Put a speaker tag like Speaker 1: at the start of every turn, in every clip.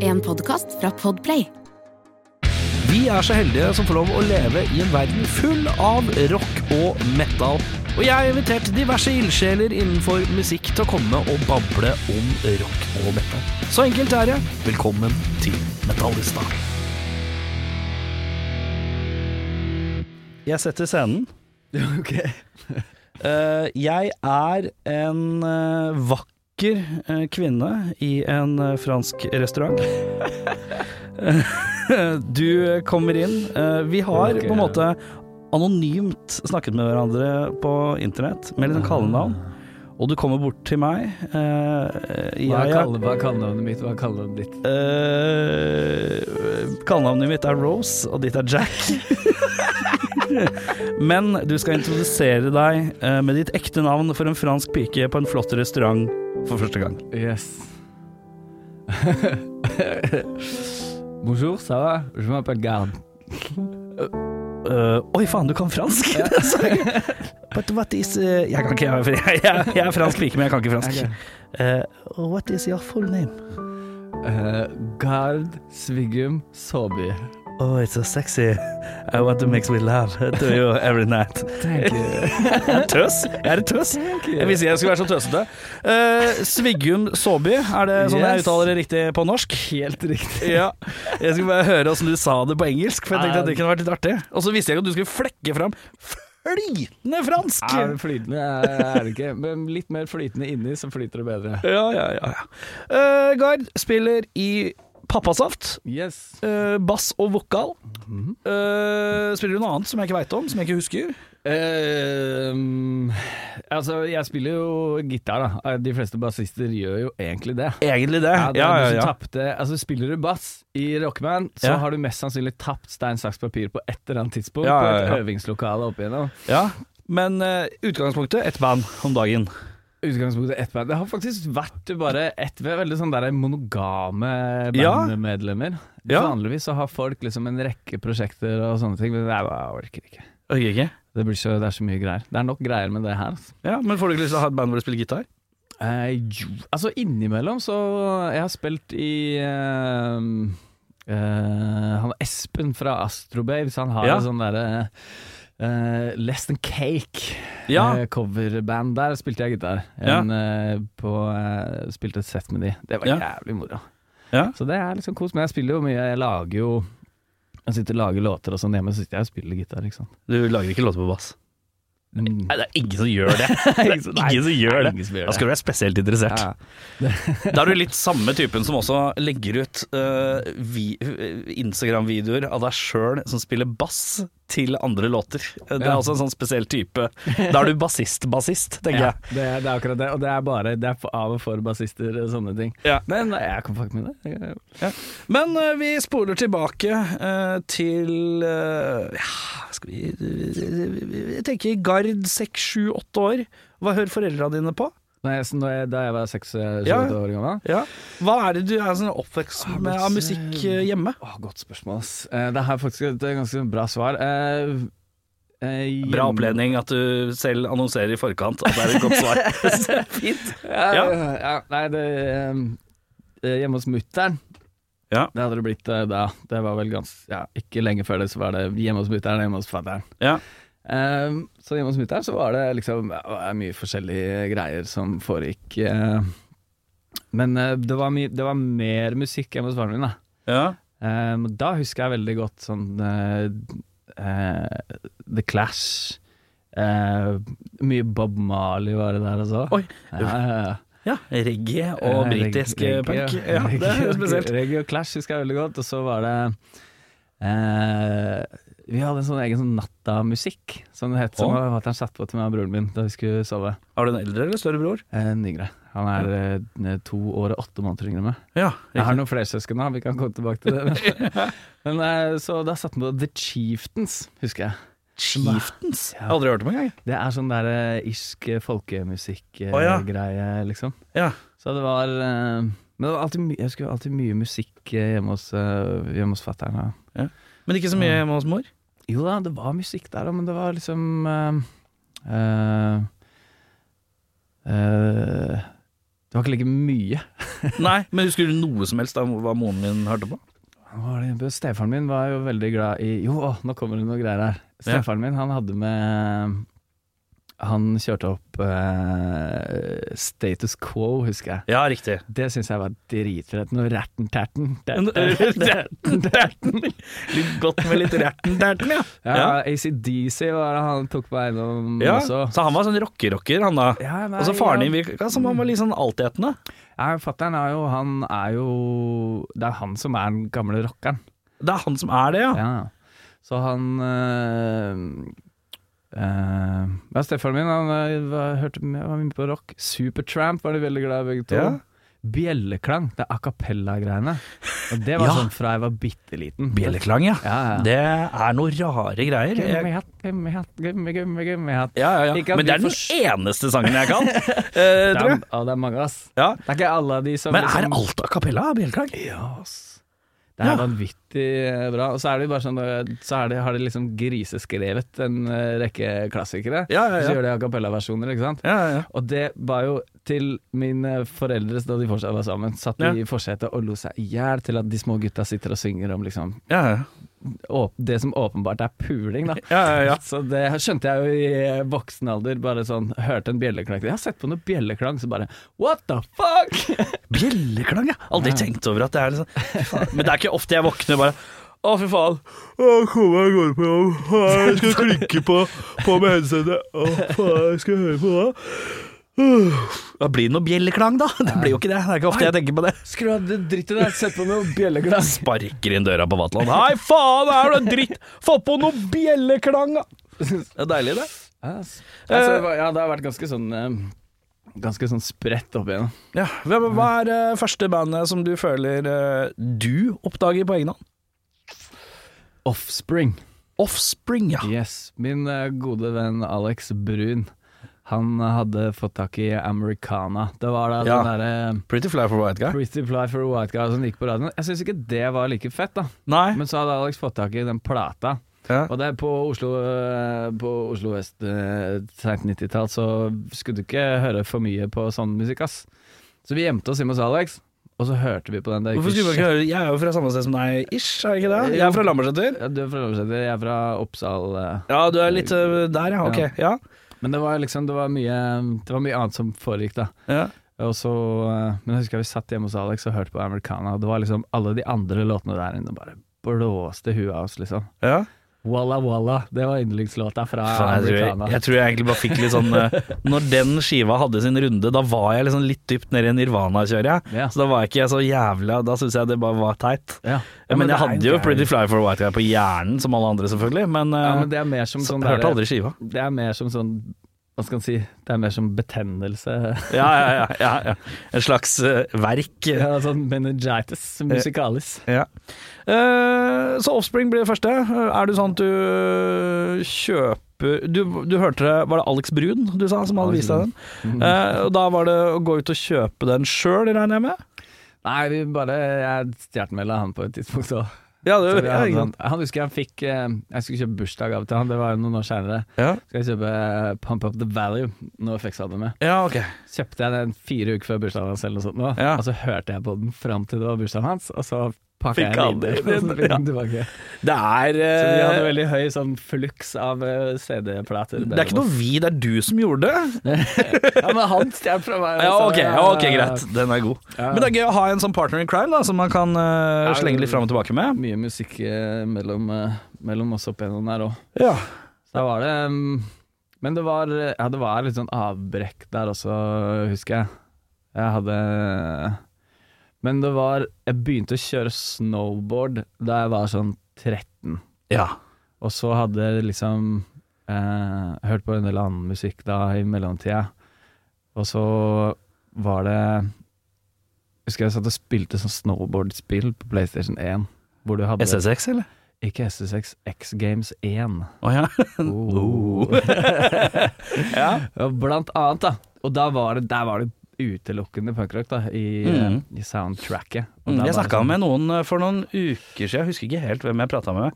Speaker 1: En podkast fra Podplay.
Speaker 2: Vi er så heldige som får lov å leve i en verden full av rock og metal. Og jeg har invitert diverse ildsjeler innenfor musikk til å komme og bable om rock og metal. Så enkelt er det. Velkommen til Metallista.
Speaker 3: Jeg setter scenen. Eh, jeg er en eh, vakker eh, kvinne i en eh, fransk restaurant. Eh, du eh, kommer inn. Eh, vi har på en måte anonymt snakket med hverandre på internett, med litt sånn kallenavn. Og du kommer bort til meg. eh,
Speaker 4: Ah. Hva er
Speaker 3: jeg er-
Speaker 4: kalle- hva er kallenavnet mitt? Hva er kallenavnet ditt?
Speaker 3: Eh, Kallenavnet mitt er Rose, og ditt er Jack. Men du skal introdusere deg eh, med ditt ekte navn for en fransk pike på en flott restaurant for første gang.
Speaker 4: Yes. Bonjour, ça va? Je m'appelle Gard.
Speaker 3: Eh, Oi, faen, du kan fransk! Det sa jeg. But what is eh, Jeg kan ikke, jeg, jeg, jeg, jeg er fransk pike, men jeg kan ikke fransk.
Speaker 4: Ok.
Speaker 3: Eh, what is your full name?
Speaker 4: Eh, Gard Svigum Saabye.
Speaker 3: Oh, it's so sexy. I want to make me laugh to you every night.
Speaker 4: Thank you.
Speaker 3: Jeg er tøs. Jeg er et tøs. Jeg visste ikke jeg skulle være så tøsete. Eh, Sviggum Saabye, er det sånn jeg
Speaker 4: Yes.
Speaker 3: uttaler det riktig på norsk?
Speaker 4: Helt riktig.
Speaker 3: Ja. Jeg skulle bare høre åssen du sa det på engelsk, for jeg tenkte at det kunne vært litt artig. Og så visste jeg ikke at du skulle flekke fram flytende fransk!
Speaker 4: Er det flytende? Er, er det ikke. Men litt mer flytende inni, så flyter det bedre.
Speaker 3: Ja, ja, ja. ja. Eh, Gard spiller i Pappasaft.
Speaker 4: Yes.
Speaker 3: eh, bass og vokal. Mhm. Eh, spiller du noe annet som jeg ikke veit om, som jeg ikke husker?
Speaker 4: Eh, um, altså, jeg spiller jo gitar, da. De fleste bassister gjør jo egentlig det.
Speaker 3: Egentlig det. liksom
Speaker 4: Ja, det
Speaker 3: Ja,
Speaker 4: er
Speaker 3: ja,
Speaker 4: du som
Speaker 3: ja.
Speaker 4: tapte Altså Spiller du bass i Rockman, så
Speaker 3: Ja.
Speaker 4: har du mest sannsynlig tapt stein, saks, papir på et eller annet tidspunkt.
Speaker 3: Ja, ja,
Speaker 4: På
Speaker 3: ja.
Speaker 4: et øvingslokale opp igjennom.
Speaker 3: ja. Men eh, utgangspunktet ett band om dagen.
Speaker 4: Utgangspunktet ett band. Det har faktisk vært bare ett ve- veldig sånn der monogame
Speaker 3: Ja.
Speaker 4: bandmedlemmer.
Speaker 3: Ja.
Speaker 4: Vanligvis så har folk liksom en rekke prosjekter og sånne ting, men jeg bare orker ikke.
Speaker 3: Okay, ikke?
Speaker 4: Det, blir så, det er så mye greier. Det er nok greier med det her. Altså.
Speaker 3: Ja, Men får du ikke lyst til å ha et band hvor du spiller gitar?
Speaker 4: Eh, jo, altså innimellom så Jeg har spilt i eh, eh, Han Espen fra Astrobabes, han har
Speaker 3: Ja.
Speaker 4: en sånn derre eh, Less Than Cake-coverband.
Speaker 3: Ja.
Speaker 4: Der spilte jeg gitar.
Speaker 3: Ja.
Speaker 4: En, eh, på, eh, spilte et sett med de. Det var
Speaker 3: Ja.
Speaker 4: jævlig moro.
Speaker 3: Ja.
Speaker 4: Så det er liksom kos. Men jeg spiller jo mye. Jeg lager jo Jeg sitter og lager låter og sånn hjemme, så sitter jeg og spiller gitar, ikke sant.
Speaker 3: Du lager ikke låter på bass?
Speaker 4: Mm.
Speaker 3: Nei, det er ingen som gjør det. Det er ingen som gjør det.
Speaker 4: ingen som gjør
Speaker 3: Da
Speaker 4: det.
Speaker 3: skal du være spesielt interessert.
Speaker 4: Ja.
Speaker 3: Da er du litt samme typen som også legger ut eh, vi- eh, Instagram-videoer av deg sjøl som spiller bass til andre låter. Eh, Det er
Speaker 4: Ja.
Speaker 3: også en sånn spesiell type. Da er du bassist-bassist, tenker
Speaker 4: Ja,
Speaker 3: jeg.
Speaker 4: det er, det er akkurat det. Og det er bare det er for- av og for bassister og sånne ting.
Speaker 3: Ja.
Speaker 4: Men nei, jeg kan fucke med det. Jeg-
Speaker 3: Men eh, vi spoler tilbake eh, til eh, ja, Skal vi Jeg tenker Gard seks, sju, åtte år. Hva hører foreldra dine på?
Speaker 4: Nei, så når jeg, da jeg var 26
Speaker 3: Ja.
Speaker 4: år gammel
Speaker 3: Ja. Hva er det du er sånn oppvokst
Speaker 4: Ah,
Speaker 3: med
Speaker 4: godt,
Speaker 3: av musikk eh, hjemme?
Speaker 4: Å, Godt spørsmål, ass. Eh, Det har faktisk et ganske bra svar. Eh, eh,
Speaker 3: Bra
Speaker 4: hjem-
Speaker 3: oppledning at du selv annonserer i forkant at det er et godt svar. Fint.
Speaker 4: Ja,
Speaker 3: Ja.
Speaker 4: ja. nei, det eh, eh, Hjemme hos mutter'n.
Speaker 3: Ja.
Speaker 4: Det hadde det blitt eh, da. Det var vel ganske ja, Ikke lenge før det, så var det hjemme hos mutter'n og hjemme hos fatter'n.
Speaker 3: Ja.
Speaker 4: Ehm, så hjemme hos mutter'n så var det liksom ja, det var mye forskjellige greier som foregikk. eh. men eh, det, var mye- det var mer musikk hjemme hos faren min, da.
Speaker 3: Ja.
Speaker 4: Ehm, og da husker jeg veldig godt sånn eh, eh, The Clash. Eh, mye Bob Marley var det der også.
Speaker 3: Oi.
Speaker 4: Ja, ja, ja.
Speaker 3: Reggae og
Speaker 4: Eh,
Speaker 3: britisk
Speaker 4: reggae-
Speaker 3: eh, punk.
Speaker 4: reggae-
Speaker 3: Ja, det er
Speaker 4: reggae-
Speaker 3: jo spesielt.
Speaker 4: Reggae og Clash husker jeg veldig godt. Og så var det eh, Vi hadde en sånn egen sånn nattamusikk som det het. Som
Speaker 3: Å.
Speaker 4: fatter'n satte på til meg og broren min da vi skulle sove.
Speaker 3: Har du en eldre eller større bror?
Speaker 4: En yngre. Han er eh, to år og åtte måneder yngre enn meg.
Speaker 3: Ja.
Speaker 4: Jeg har noen flere søsken, da. Vi kan komme tilbake til det. Men, eh, så da satte han på The Chieftains, husker jeg.
Speaker 3: Chieftains? Jeg har aldri hørt om engang.
Speaker 4: Det er sånn der eh, irsk folkemusikk-greie,
Speaker 3: Å, ja.
Speaker 4: liksom.
Speaker 3: Ja.
Speaker 4: Så det var eh, Men det var alltid, my- jeg husker det var alltid mye musikk eh, hjemme hos, eh, hjemme hos fatter'n. da.
Speaker 3: Men ikke så mye hjemme hos mor?
Speaker 4: Jo da, det var musikk der òg, men det var liksom eh, eh, eh, Det var ikke like mye.
Speaker 3: Nei, men husker du noe som helst av hva moren min hørte på?
Speaker 4: Hva var det? Stefaren min var jo veldig glad i Jo, å, nå kommer det noe greier her.
Speaker 3: Ja.
Speaker 4: Stefaren min, han hadde med Han kjørte opp eh, Status Quo, husker jeg.
Speaker 3: Ja, riktig.
Speaker 4: Det syns jeg var dritfett. Noe rætten-tærten.
Speaker 3: Derten. Litt godt med litt Derten, ja.
Speaker 4: Ja, ACDC var det han tok på eiendom
Speaker 3: ja.
Speaker 4: også.
Speaker 3: Mm, Så han var sånn rocker-rocker, han da.
Speaker 4: Ja, nei,
Speaker 3: Og så faren din
Speaker 4: ja.
Speaker 3: virka som han var litt sånn altetende.
Speaker 4: Ja, Fatter'n er jo Han er jo Det er han som er den gamle rockeren.
Speaker 3: Det er han som er det, ja.
Speaker 4: Ja. Så han eh, eh, Ja, Stefaren min han eh, var, hørte, med- var mye på rock. Supertramp var de veldig glad i, begge to.
Speaker 3: Ja.
Speaker 4: Bjelleklang, det er a cappella-greiene. Og Det var
Speaker 3: Ja.
Speaker 4: sånn fra jeg var bitte liten.
Speaker 3: Bjelleklang, ja.
Speaker 4: Ja, ja.
Speaker 3: Det er noe rare greier. Jeg,
Speaker 4: Gummihatt, gummihatt, gummi, gummi, gummihatt.
Speaker 3: ja, ja,
Speaker 4: Ikke
Speaker 3: ja. Men
Speaker 4: at vi
Speaker 3: det er den eneste sangen jeg kan, eh,
Speaker 4: Det
Speaker 3: tror
Speaker 4: er,
Speaker 3: jeg.
Speaker 4: å, det er mange, ass.
Speaker 3: Ja.
Speaker 4: Det er ikke alle av de som
Speaker 3: Men er
Speaker 4: liksom-
Speaker 3: alt a cappella bjelleklang?
Speaker 4: Ja, ass. Det er
Speaker 3: Ja.
Speaker 4: vanvittig eh, bra. Og så er det jo bare sånn eh, Så er det, har de liksom griseskrevet en eh, rekke klassikere.
Speaker 3: Ja, ja,
Speaker 4: Så
Speaker 3: ja.
Speaker 4: gjør de a cappella-versjoner, ikke sant.
Speaker 3: Ja, ja, ja.
Speaker 4: Og det var jo til mine foreldres da de fortsatt var sammen, satt de
Speaker 3: Ja.
Speaker 4: i forsetet og lo seg i hjel til at de små gutta sitter og synger om liksom
Speaker 3: ja, ja.
Speaker 4: åp- det som åpenbart er puling, da.
Speaker 3: ja, ja, ja.
Speaker 4: Så det skjønte jeg jo i eh, voksen alder, bare sånn hørte en bjelleklang Jeg har sett på noe bjelleklang, så bare what the fuck!
Speaker 3: Bjelleklang, ja. Aldri tenkt over at det er liksom Fy faen. Men det er ikke ofte jeg våkner og bare Å, fy faen. Å, kom meg av gårde på jobb. Å, Jeg skal klikke på, på med headsetet. Å, faen, jeg skal høre på det. Uff. Da blir det noe bjelleklang, da. Det blir jo ikke det. Det er ikke ofte jeg tenker på det.
Speaker 4: Skru av det drittet der, sett på noe bjelleklang.
Speaker 3: Sparker inn døra på Vatland. Hei, faen, er det dritt? Få på noe bjelleklang, da. Det er deilig, det.
Speaker 4: Yes. Altså, det var- ja, det har vært ganske sånn eh, Ganske sånn spredt opp igjennom.
Speaker 3: Ja. Hva, hva er eh, første bandet som du føler eh, du oppdager på egen hånd?
Speaker 4: Offspring.
Speaker 3: Offspring, ja.
Speaker 4: Yes. Min eh, gode venn Alex Brun, han hadde fått tak i Americana. Det var da
Speaker 3: Ja.
Speaker 4: den derre eh,
Speaker 3: Pretty fly for white guy.
Speaker 4: Pretty Fly for a White Guy som gikk på radioen. Jeg syns ikke det var like fett, da.
Speaker 3: Nei.
Speaker 4: Men så hadde Alex fått tak i den plata.
Speaker 3: Ja.
Speaker 4: Og det er på Oslo, eh, på Oslo Vest eh, sent 90-tall, så skulle du ikke høre for mye på sånn musikk, ass. Så vi gjemte oss hjemme hos Alex, og så hørte vi på den. Det gikk
Speaker 3: Hvorfor skulle man
Speaker 4: kjempe-
Speaker 3: ikke høre Jeg er jo fra samme sted som deg, ish, er jeg ikke det? Jeg er fra Lambertseter.
Speaker 4: Ja, Du er fra Lambertseter, jeg er fra Oppsal. eh.
Speaker 3: Ja, du er litt øh, der, ja. Ok. Ja.
Speaker 4: Men det var liksom, det var mye, det var mye annet som foregikk da.
Speaker 3: ja.
Speaker 4: Og så, eh, men jeg husker jeg vi satt hjemme hos Alex og hørte på Americana, og det var liksom alle de andre låtene der inne, bare blåste huet av oss, liksom.
Speaker 3: ja.
Speaker 4: Walla Walla, det var yndlingslåta fra
Speaker 3: Faen, jeg, tror jeg,
Speaker 4: Americana.
Speaker 3: jeg tror jeg egentlig bare fikk litt sånn øh, Når den skiva hadde sin runde, da var jeg liksom litt dypt nede i Nirvana-kjøret.
Speaker 4: Ja.
Speaker 3: jeg. Så da var jeg ikke så jævla Da syns jeg det bare var teit.
Speaker 4: Ja. Ja,
Speaker 3: men, jeg
Speaker 4: det er
Speaker 3: hadde jo
Speaker 4: gærent.
Speaker 3: Pretty Fly for a White Guy på hjernen, som alle andre, selvfølgelig. Men, øh,
Speaker 4: Ja, men det er mer som
Speaker 3: så,
Speaker 4: sånn
Speaker 3: hørte
Speaker 4: derre-
Speaker 3: aldri skiva.
Speaker 4: Det er mer som sånn Hva skal en si Det er mer som betennelse
Speaker 3: Ja, ja, ja. ja, ja. En slags øh, verk.
Speaker 4: ja, Sånn meningitis musicalis
Speaker 3: Ja. Eh, så Offspring blir det første. Er du sånn at du kjøper Du, du hørte det, var det Alex Brun du sa som hadde
Speaker 4: Alex
Speaker 3: vist deg den?
Speaker 4: Brun.
Speaker 3: Eh, og da var det å gå ut og kjøpe den sjøl, regner jeg med?
Speaker 4: Nei, vi bare Jeg stjertemeldet han på et tidspunkt også
Speaker 3: Ja,
Speaker 4: Så
Speaker 3: det,
Speaker 4: vi
Speaker 3: ja,
Speaker 4: hadde
Speaker 3: ikke
Speaker 4: han,
Speaker 3: sant?
Speaker 4: han husker jeg fikk eh, Jeg skulle kjøpe bursdagsgave til han Det var jo noen år senere
Speaker 3: ja.
Speaker 4: Skal jeg kjøpe eh, Pump Up The Value Når jeg fikk sammen med
Speaker 3: ja, ok.
Speaker 4: Kjøpte jeg den fire uker før bursdagen hans Eller noe sånt nå
Speaker 3: Ja.
Speaker 4: Og så hørte jeg på den frem til det var bursdagen hans Og så pakket
Speaker 3: Fikk
Speaker 4: jeg
Speaker 3: han
Speaker 4: den
Speaker 3: det
Speaker 4: inn Og så fikk
Speaker 3: inn,
Speaker 4: den tilbake
Speaker 3: Det er
Speaker 4: Så vi hadde
Speaker 3: eh,
Speaker 4: veldig høy sånn fluks av eh, CD-plater
Speaker 3: Det er ikke noe vi, det er du som gjorde det.
Speaker 4: Ja, men han stjal fra meg.
Speaker 3: Ja,
Speaker 4: så-
Speaker 3: ok, ja, ok, greit. Den er god.
Speaker 4: Ja.
Speaker 3: Men det er gøy å ha en sånn partner in crime da som man kan eh,
Speaker 4: det-
Speaker 3: slenge litt fram og tilbake med.
Speaker 4: Mye musikk eh, mellom, eh, mellom oss opp igjennom der òg.
Speaker 3: Ja.
Speaker 4: Da var det mm, Men det var, eh, ja, det var litt sånn avbrekk der også, husker jeg. Jeg hadde Men det var Jeg begynte å kjøre snowboard da jeg var sånn 13.
Speaker 3: ja.
Speaker 4: Og så hadde jeg liksom eh, hørt på en del annen musikk da i mellomtida. Og så var det Husker jeg satt og spilte sånn snowboardspill på PlayStation 1. Hvor du hadde
Speaker 3: SSX, eller?
Speaker 4: Ikke SS6, X Games 1.
Speaker 3: Å ja. ja.
Speaker 4: Ja, Blant annet, da. Og da var det, der var det utelukkende punkrock da, i, eh,
Speaker 3: Mm.
Speaker 4: i soundtracket. Og
Speaker 3: Mm,
Speaker 4: da
Speaker 3: jeg
Speaker 4: var det
Speaker 3: snakka
Speaker 4: sånn-
Speaker 3: med noen eh, for noen uker siden, jeg husker ikke helt hvem jeg prata med.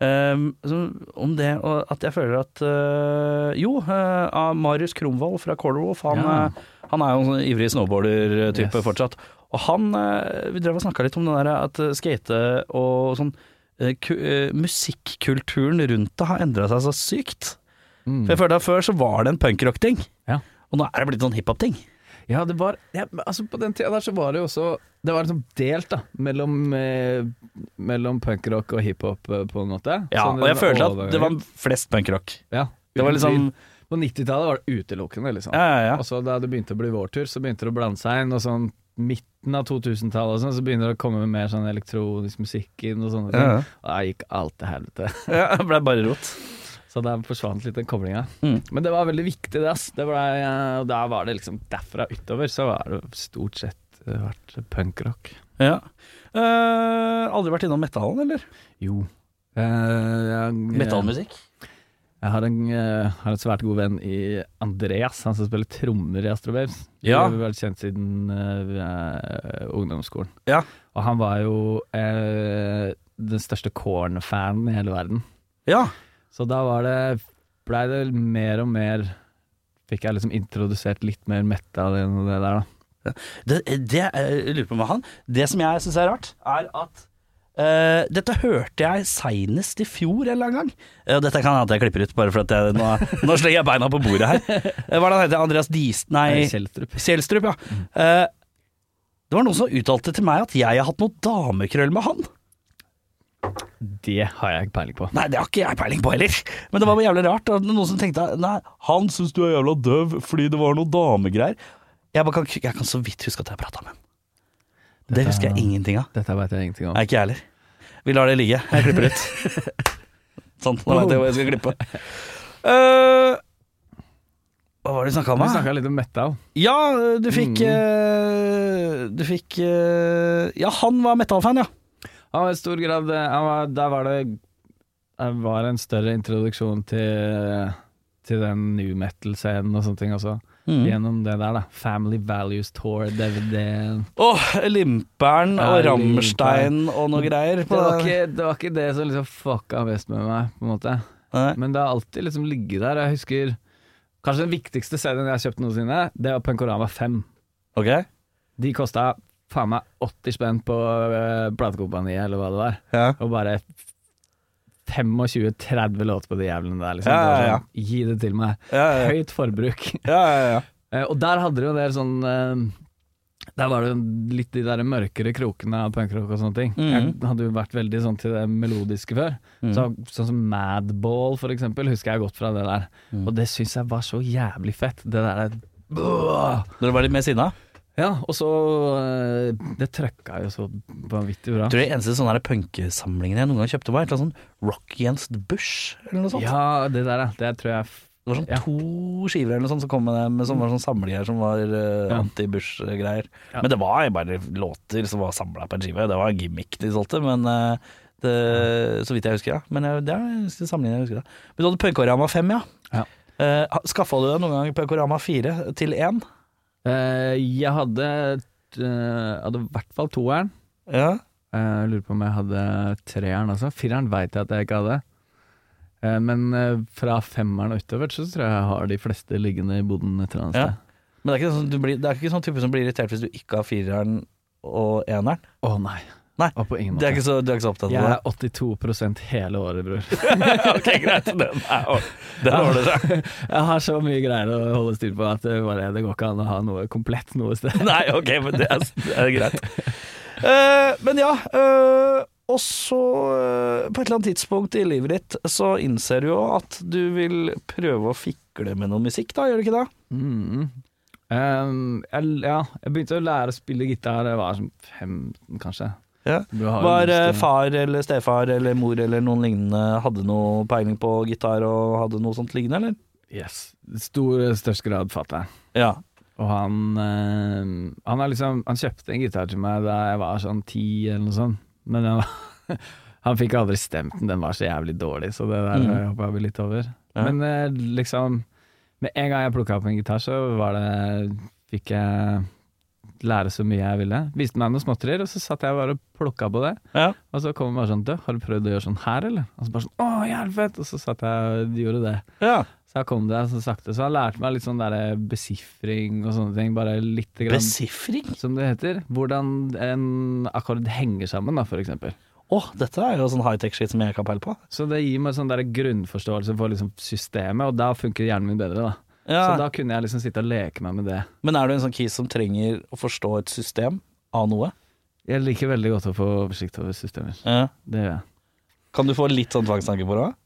Speaker 3: Ehm, så om det, og at jeg føler at eh, Jo, eh, av Marius Kromvold fra Corderwolf, han,
Speaker 4: Ja.
Speaker 3: eh, han er jo en sånn ivrig snowboarder-type
Speaker 4: Yes.
Speaker 3: fortsatt. Og han eh, Vi drev og snakka litt om det der at eh, skate og sånn eh, ku- eh, Musikkulturen rundt det har endra seg så sykt.
Speaker 4: Mm.
Speaker 3: For jeg følte at Før så var det en punkrock-ting,
Speaker 4: Ja.
Speaker 3: og nå er det blitt sånn hiphop-ting.
Speaker 4: Ja, det var ja, men altså På den tida der så var det jo også Det var liksom delt, da, mellom, eh, mellom punkrock og hiphop, eh, på en måte.
Speaker 3: Ja,
Speaker 4: Sånn
Speaker 3: og jeg
Speaker 4: den
Speaker 3: følte at det var
Speaker 4: overgangen.
Speaker 3: flest punkrock.
Speaker 4: ja,
Speaker 3: Det var
Speaker 4: uten
Speaker 3: liksom
Speaker 4: tvil. På 90-tallet var det utelukkende, liksom.
Speaker 3: Ja, ja, ja.
Speaker 4: Og så da det begynte å bli vår tur, så begynte det å blande seg inn, og sånn midten av 2000-tallet og sånn, så begynner det å komme mer sånn elektronisk musikk inn og sånne ting.
Speaker 3: Ja, ja.
Speaker 4: Og da gikk alt til helvete.
Speaker 3: ja det ble bare rot.
Speaker 4: Så der forsvant litt den koblinga.
Speaker 3: Mm.
Speaker 4: Men det var veldig viktig, det, ass. Det ble, eh, og da var det liksom derfra utover, så har det stort sett eh, vært punkrock.
Speaker 3: Ja. Eh, aldri vært innom metalen, eller?
Speaker 4: Jo. Eh, jeg,
Speaker 3: Metallmusikk?
Speaker 4: Jeg har en, eh, har en svært god venn i Andreas, han som spiller trommer i Astrobaves.
Speaker 3: Ja.
Speaker 4: Vi har vært kjent siden eh, ungdomsskolen.
Speaker 3: Ja.
Speaker 4: Og han var jo eh, den største Korn-fanen i hele verden.
Speaker 3: Ja.
Speaker 4: Så da var det blei det mer og mer Fikk jeg liksom introdusert litt mer metal enn det der, da.
Speaker 3: Det, det eh, jeg lurer på med han. Det som jeg syns er rart, er at eh, dette hørte jeg seinest i fjor en eller annen gang. Eh, og dette kan hende at jeg klipper ut, bare for at jeg, nå, nå slenger jeg beina på bordet her. Eh, Hva er det han heter? Andreas Diest... Nei,
Speaker 4: Kjeltrup.
Speaker 3: Kjelstrup, ja. Eh, det var noen som uttalte til meg at jeg har hatt noe damekrøll med han.
Speaker 4: Det har jeg ikke peiling på.
Speaker 3: Nei, det har ikke jeg peiling på heller. Men det var bare jævlig rart. Og noen som tenkte Nei, han syns du er jævla døv fordi det var noe damegreier. Jeg, bare kan, jeg kan så vidt huske at jeg prata med ham. Det
Speaker 4: Dette-
Speaker 3: husker jeg ingenting av.
Speaker 4: Dette veit jeg ingenting om.
Speaker 3: Nei, ikke jeg heller. Vi lar det ligge. Jeg klipper ut. sånn. Nå vet jeg hvor jeg skal klippe. Eh, hva var det vi snakka om?
Speaker 4: Vi
Speaker 3: da?
Speaker 4: snakka litt om metal.
Speaker 3: Ja, du fikk eh, Du fikk eh, Ja, han var metallfan, ja.
Speaker 4: Han var i stor grad han var, Der var det Det var en større introduksjon til Til den new metal-scenen og sånne ting også. Gjennom det der, da. Family Values Tour, DVD-en.
Speaker 3: Åh, Limper'n og
Speaker 4: Ja,
Speaker 3: Rammstein og noe greier.
Speaker 4: Det var, ikke, det var ikke det som liksom fucka mest med meg, på en måte.
Speaker 3: Nei.
Speaker 4: Men det har alltid liksom ligget der. Jeg husker Kanskje den viktigste serien jeg har kjøpt noensinne, det var Penkorama 5.
Speaker 3: Ok
Speaker 4: De kosta faen meg 80 spenn på eh, platekompaniet, eller hva det var.
Speaker 3: ja.
Speaker 4: Og bare 25-30 låter på de jævlene der, liksom.
Speaker 3: Ja, ja,
Speaker 4: Det var
Speaker 3: ja.
Speaker 4: sånn, Gi det til meg.
Speaker 3: Ja, ja, ja.
Speaker 4: Høyt forbruk.
Speaker 3: ja, ja, ja.
Speaker 4: Eh, og der hadde de jo en del sånn eh, Der var det jo litt de der mørkere krokene av punkrock og sånne ting.
Speaker 3: Mhm.
Speaker 4: Jeg hadde jo vært veldig sånn til det melodiske før. Så, sånn som Madball, for eksempel, husker jeg godt fra det der. Og det syns jeg var så jævlig fett. Det derre
Speaker 3: Dere var litt mer sinna?
Speaker 4: Ja, og så eh, Det trøkka jo så vanvittig bra.
Speaker 3: Jeg tror det eneste sånne her punkesamlingen jeg noen gang kjøpte, var et eller annet sånn Rock Against Bush, eller noe sånt.
Speaker 4: Ja, det der, ja. Det tror jeg f-
Speaker 3: Det var sånn
Speaker 4: Ja. Mm.
Speaker 3: to skiver eller noe sånt som kom med det, med sånn, var sånn samlinger som var eh,
Speaker 4: Ja.
Speaker 3: anti-Bush-greier.
Speaker 4: Ja.
Speaker 3: Men det var bare låter som var samla på en skive. Det var en gimmick de solgte, men eh, det, så vidt jeg husker, ja. Men jeg, det er den eneste samlingen jeg husker. Da. Men du hadde Punkorama 5, ja.
Speaker 4: Ja.
Speaker 3: Eh, Skaffa du deg noen gang Punkorama 4 til 1?
Speaker 4: Eh, jeg hadde eh, hadde i hvert fall toeren.
Speaker 3: Ja.
Speaker 4: Eh, Jeg lurer på om jeg hadde treeren også. Fireren veit jeg at jeg ikke hadde. Eh, Men eh, fra femmeren og utover så tror jeg jeg har de fleste liggende i boden et eller annet
Speaker 3: Ja.
Speaker 4: sted.
Speaker 3: Men det er, ikke sånn, du blir, det er ikke sånn type som blir irritert hvis du ikke har fireren og eneren.
Speaker 4: Å nei.
Speaker 3: Nei,
Speaker 4: Og på ingen
Speaker 3: Det er
Speaker 4: måte.
Speaker 3: ikke så, du er ikke så opptatt
Speaker 4: Jeg
Speaker 3: av det?
Speaker 4: er 82 hele året, bror.
Speaker 3: ok, greit. Den er- den ordner seg.
Speaker 4: Jeg har så mye greier å holde styr på at det, bare, det går ikke an å ha noe komplett noe sted.
Speaker 3: Nei, ok, men det er, det er greit. Eh, men ja, eh, og så eh, på et eller annet tidspunkt i livet ditt så innser du jo at du vil prøve å fikle med noe musikk, da, gjør du ikke det?
Speaker 4: Mm. Um, jeg, ja, jeg begynte å lære å spille gitar da jeg var sånn 15, kanskje.
Speaker 3: Ja.
Speaker 4: Du har jo
Speaker 3: Var eh,
Speaker 4: lyst til-
Speaker 3: far eller stefar eller mor eller noen lignende hadde noe peiling på gitar og hadde noe sånt liggende, eller?
Speaker 4: Yes. Stor, eh, størst grad fatter'n.
Speaker 3: Ja.
Speaker 4: Og han eh, han, er liksom, han kjøpte en gitar til meg da jeg var sånn ti eller noe sånt. Men den var, han fikk aldri stemt den, den var så jævlig dårlig, så det der mm. hoppa vi litt over.
Speaker 3: Ja.
Speaker 4: Men eh, liksom Med en gang jeg plukka opp en gitar, så var det Fikk jeg lære så mye jeg ville. Viste meg noen småtterier, og så satt jeg bare og plukka på det.
Speaker 3: Ja.
Speaker 4: Og så kom det bare sånn Du, har du prøvd å gjøre sånn her, eller? Og så bare sånn Å, jævlig fett! Og så satt jeg og gjorde det.
Speaker 3: ja.
Speaker 4: Så jeg kom det så sakte. Så jeg lærte meg litt sånn derre besifring og sånne ting. Bare lite grann.
Speaker 3: Besifring?
Speaker 4: som det heter. Hvordan en akkord henger sammen, da, for eksempel.
Speaker 3: Å, dette er jo sånn high-tech-shit som jeg kan peile på.
Speaker 4: Så det gir meg sånn der grunnforståelse for liksom systemet, og da funker hjernen min bedre, da. Så da kunne jeg liksom sitte og leke meg med det.
Speaker 3: Men er du en sånn kis som trenger å forstå et system av noe?
Speaker 4: Jeg liker veldig godt å få oversikt over systemer.
Speaker 3: Ja.
Speaker 4: Det gjør jeg.
Speaker 3: Kan du få litt sånn tvangstanke på det òg?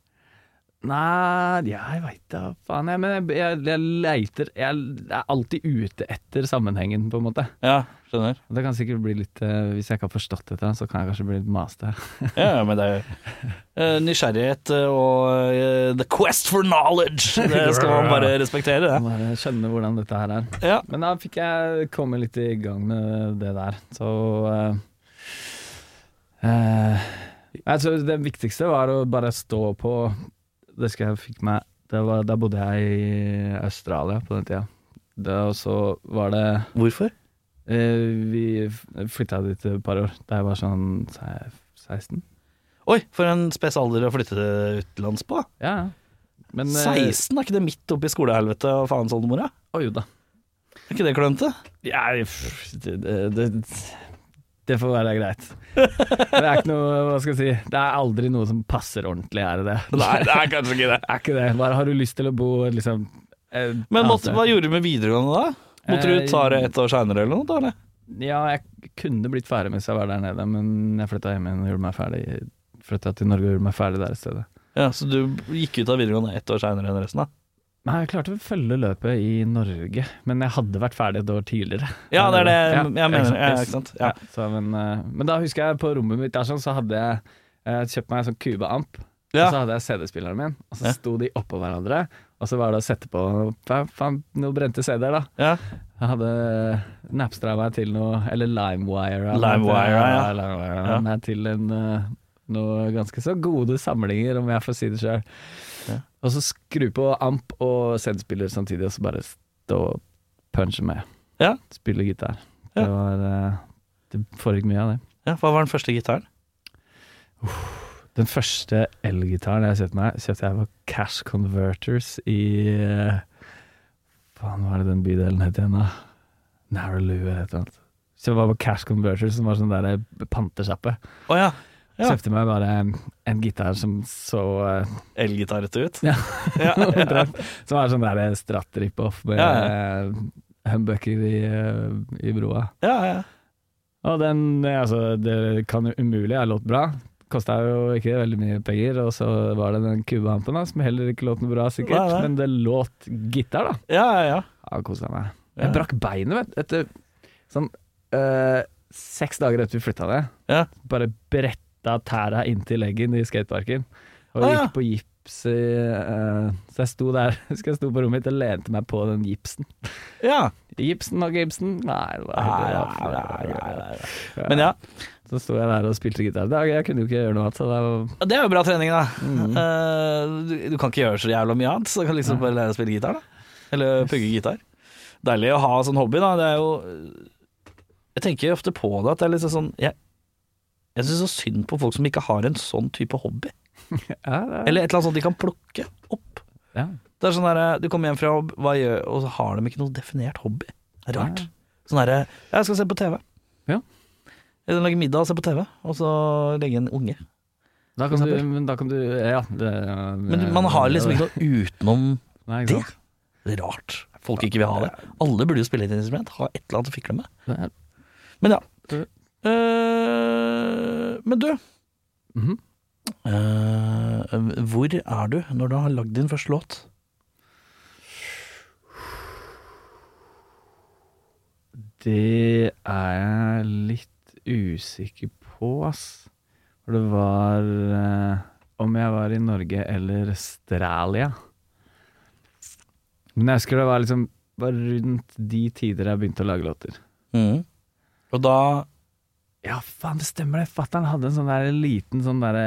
Speaker 4: Nei, ja, jeg veit da faen. Jeg, men jeg, jeg, jeg leiter Jeg er alltid ute etter sammenhengen, på en måte.
Speaker 3: Ja, skjønner.
Speaker 4: Og det kan sikkert bli litt eh, Hvis jeg ikke har forstått dette, så kan jeg kanskje bli litt masete.
Speaker 3: Ja, men det er jo Eh, Nysgjerrighet eh, og eh, the quest for knowledge! Det skal man bare respektere, det.
Speaker 4: Jeg må Bare skjønne hvordan dette her er.
Speaker 3: Ja.
Speaker 4: Men da fikk jeg komme litt i gang med det der. Så eh, eh, altså Det viktigste var å bare stå på Det skal jeg fikk meg det var, Da bodde jeg i Australia på den tida. Det, og så var det
Speaker 3: Hvorfor?
Speaker 4: eh, Vi flytta dit et par år. Da jeg var sånn se- 16.
Speaker 3: Oi, for en spes alder å flytte til utenlands på.
Speaker 4: Ja, ja. Men eh,
Speaker 3: 16, er ikke det midt oppi skolehelvete og faens oldemora?
Speaker 4: Å jo da.
Speaker 3: Er ikke det klønete?
Speaker 4: Ja, pff, det, det, det, det får være greit. Det er ikke noe, hva skal jeg si Det er aldri noe som passer ordentlig, er det det?
Speaker 3: Nei, det er kanskje ikke det.
Speaker 4: Er ikke det. Bare har du lyst til å bo liksom eh,
Speaker 3: Men måtte,
Speaker 4: altså,
Speaker 3: hva gjorde du med videregående da? Måtte
Speaker 4: Eh,
Speaker 3: du ta det ett år seinere eller noe? da, Eller?
Speaker 4: Ja, jeg kunne blitt ferdig mens jeg var der nede, men jeg flytta hjem igjen og gjorde meg ferdig. Flytta til Norge og gjorde meg ferdig der i stedet.
Speaker 3: Ja, Så du gikk ut av videregående ett år seinere enn resten? da?
Speaker 4: Nei, jeg klarte å følge løpet i Norge, men jeg hadde vært ferdig et år tidligere.
Speaker 3: Ja, det er det
Speaker 4: Ja,
Speaker 3: jeg mener.
Speaker 4: ikke sant,
Speaker 3: Ja,
Speaker 4: yes.
Speaker 3: ikke sant? Ja.
Speaker 4: Ja, så, men, eh, men da husker jeg på rommet mitt der sånn, så hadde jeg eh, kjøpt meg en sånn Cuba-amp. Og så
Speaker 3: Ja.
Speaker 4: hadde jeg CD-spilleren min, og så
Speaker 3: Ja.
Speaker 4: sto de oppå hverandre. Og så var det å sette på fa- faen, noen brente CD-er, da.
Speaker 3: Ja.
Speaker 4: Jeg hadde napstra meg til noe, eller limewire.
Speaker 3: Limewire, ja. Ja.
Speaker 4: Meg til en, eh, noe ganske så gode samlinger, om jeg får si det sjøl.
Speaker 3: Ja.
Speaker 4: Og så skru på amp og CD-spiller samtidig, og så bare stå og punche med.
Speaker 3: Ja.
Speaker 4: Spille gitar.
Speaker 3: Ja.
Speaker 4: Det var eh, Det foregikk mye av det.
Speaker 3: ja. Hva var den første gitaren?
Speaker 4: Den første elgitaren jeg kjøpte meg, kjøpte jeg på Cash Converters i eh, Faen, hva er det den bydelen heter igjen, da? Narraloo eller et eller annet. Så jeg var på Cash Converters, som var sånn der pantesjappe.
Speaker 3: Å ja. Ja.
Speaker 4: Kjøpte meg bare en, en gitar som så eh,
Speaker 3: Elgitar rett ut?
Speaker 4: Ja.
Speaker 3: ja.
Speaker 4: omtrent, Som var sånn der stratt rip-off med
Speaker 3: Ja,
Speaker 4: eh, humbucker i, eh, i broa.
Speaker 3: ja, ja.
Speaker 4: Og den, eh, altså, det kan jo umulig ha låt bra. Kosta jo ikke veldig mye penger, og så var det den kubehampen da, som heller ikke låt noe bra, sikkert.
Speaker 3: Nei, nei.
Speaker 4: Men det låt gitar, da.
Speaker 3: ja, ja, ja.
Speaker 4: Ja, kosa meg.
Speaker 3: Ja.
Speaker 4: Jeg brakk beinet, vet du. Etter sånn eh, seks dager etter vi flytta ned.
Speaker 3: Ja.
Speaker 4: Bare bretta tæra inntil leggen i skateparken, og
Speaker 3: Ah, ja.
Speaker 4: gikk på gips i eh, Så jeg sto der, husker jeg sto på rommet mitt og lente meg på den gipsen.
Speaker 3: ja.
Speaker 4: Gipsen og gipsen Nei, det var
Speaker 3: Nei,
Speaker 4: helt
Speaker 3: nei, nei, nei, nei. Men ja,
Speaker 4: Så sto jeg der og spilte gitar. Da, jeg kunne jo ikke gjøre noe annet. Så det var,
Speaker 3: det er jo bra trening, da.
Speaker 4: Mhm.
Speaker 3: Eh, du, du kan ikke gjøre så jævla mye annet, så du kan liksom bare lære å spille gitar, da. Eller pugge gitar. Deilig å ha sånn hobby, da. Det er jo Jeg tenker ofte på det at det er liksom sånn Jeg, jeg syns så synd på folk som ikke har en sånn type hobby.
Speaker 4: ja, det,
Speaker 3: Eller et eller annet sånt de kan plukke opp.
Speaker 4: ja.
Speaker 3: Det er sånn der, Du kommer hjem fra jobb, hva gjør, og så har de ikke noe definert hobby. Det er rart.
Speaker 4: Ja.
Speaker 3: Sånn derre Jeg skal se på TV.
Speaker 4: Ja.
Speaker 3: Eller lage middag og se på TV, og så legge en unge.
Speaker 4: Da kan du, men da kan du Ja. Det,
Speaker 3: Men man har liksom ikke noe utenom
Speaker 4: Nei, ikke
Speaker 3: det.
Speaker 4: sant?
Speaker 3: Det er rart. Folk ikke vil ha det. Alle burde jo spille et instrument, ha et eller annet å fikle med.
Speaker 4: Det er-
Speaker 3: Men ja.
Speaker 4: Mhm.
Speaker 3: Eh, men du,
Speaker 4: Mhm.
Speaker 3: eh, hvor er du når du har lagd din første låt?
Speaker 4: Det er jeg litt usikker på, ass. For det var eh, Om jeg var i Norge eller Australia. Men jeg husker det var liksom var rundt de tider jeg begynte å lage låter. Mm.
Speaker 3: Og da
Speaker 4: Ja, faen, det stemmer det. Fattern hadde en sånn der liten sånn derre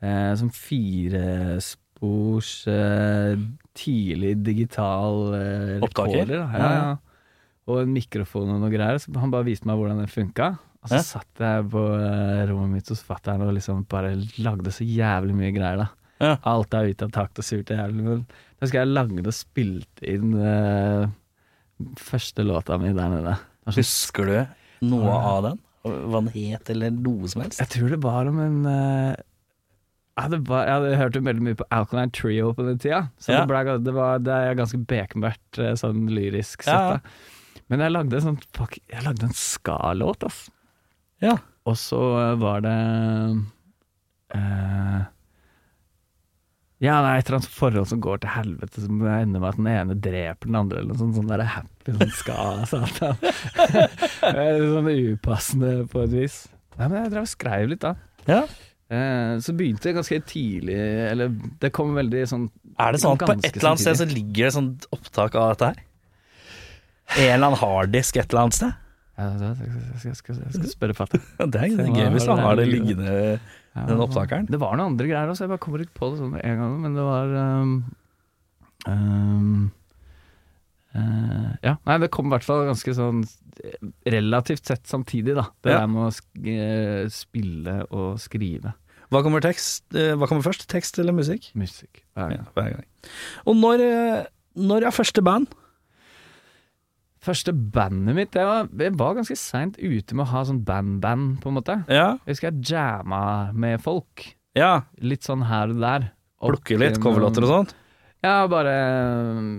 Speaker 4: eh, Sånn firespors eh, tidlig eh, digital eh,
Speaker 3: Opptaker?
Speaker 4: recorder, da. Ja, ja. og en mikrofon og noe greier. Så han bare viste meg hvordan den funka. Og så
Speaker 3: Ja.
Speaker 4: satt jeg på eh, rommet mitt hos fatter'n og liksom bare lagde så jævlig mye greier, da.
Speaker 3: Ja.
Speaker 4: Alt er ute av takt og surt og jævlig. Men da husker jeg lagde og spilte inn eh, første låta mi der nede. Det var sånn
Speaker 3: Husker du noe av den? Hva den het, eller noe som helst?
Speaker 4: Jeg tror det var om en eh, ja, det var, Jeg hadde hørt veldig mye på Alkaline Trio på den tida, så
Speaker 3: Ja.
Speaker 4: det, ble, det, var, det er ganske bekmørkt eh, sånn lyrisk sett.
Speaker 3: Ja, ja.
Speaker 4: Da. Men jeg lagde en sånn fuck, Jeg lagde en ska-låt, ass.
Speaker 3: Ja.
Speaker 4: Og så eh, var det eh, ja, det er et eller annet forhold som går til helvete, som ender med at den ene dreper den andre, eller noe sånt. Sånn der happy sånn ska-satan. sånn upassende på et vis. Nei, men jeg drev og skrev litt, da.
Speaker 3: Ja.
Speaker 4: Eh, så begynte jeg ganske tidlig, eller det kom veldig sånn
Speaker 3: Er det sånn at på
Speaker 4: Ganske
Speaker 3: et eller annet sted så ligger det sånn opptak av dette her? En eller annen harddisk et eller annet sted?
Speaker 4: ja, Jeg skal, jeg skal, jeg skal spørre fatter'n.
Speaker 3: Ja, Det er
Speaker 4: Se,
Speaker 3: gøy hvis
Speaker 4: hva
Speaker 3: han
Speaker 4: har
Speaker 3: har det
Speaker 4: det
Speaker 3: liggende
Speaker 4: Ja,
Speaker 3: Den opptakeren?
Speaker 4: Det var noen andre greier også, jeg bare kommer ikke på det sånn med en gang, men det var um, um, eh, Ja, nei, det kom i hvert fall ganske sånn eh, relativt sett samtidig, da. Det
Speaker 3: Ja.
Speaker 4: der med å sk eh, spille og skrive
Speaker 3: Hva kommer, tekst, eh, hva kommer først? Tekst eller musikk?
Speaker 4: musikk. hver gang.
Speaker 3: Ja, hver gang. Og når, eh, når er første band?
Speaker 4: Første bandet mitt, det var, jeg var ganske seint ute med å ha sånn band-band, på en måte.
Speaker 3: Ja.
Speaker 4: Jeg husker jeg jamma med folk,
Speaker 3: ja.
Speaker 4: litt sånn her og der.
Speaker 3: Plukke litt coverlåter og sånn. sånt?
Speaker 4: Ja, bare mm,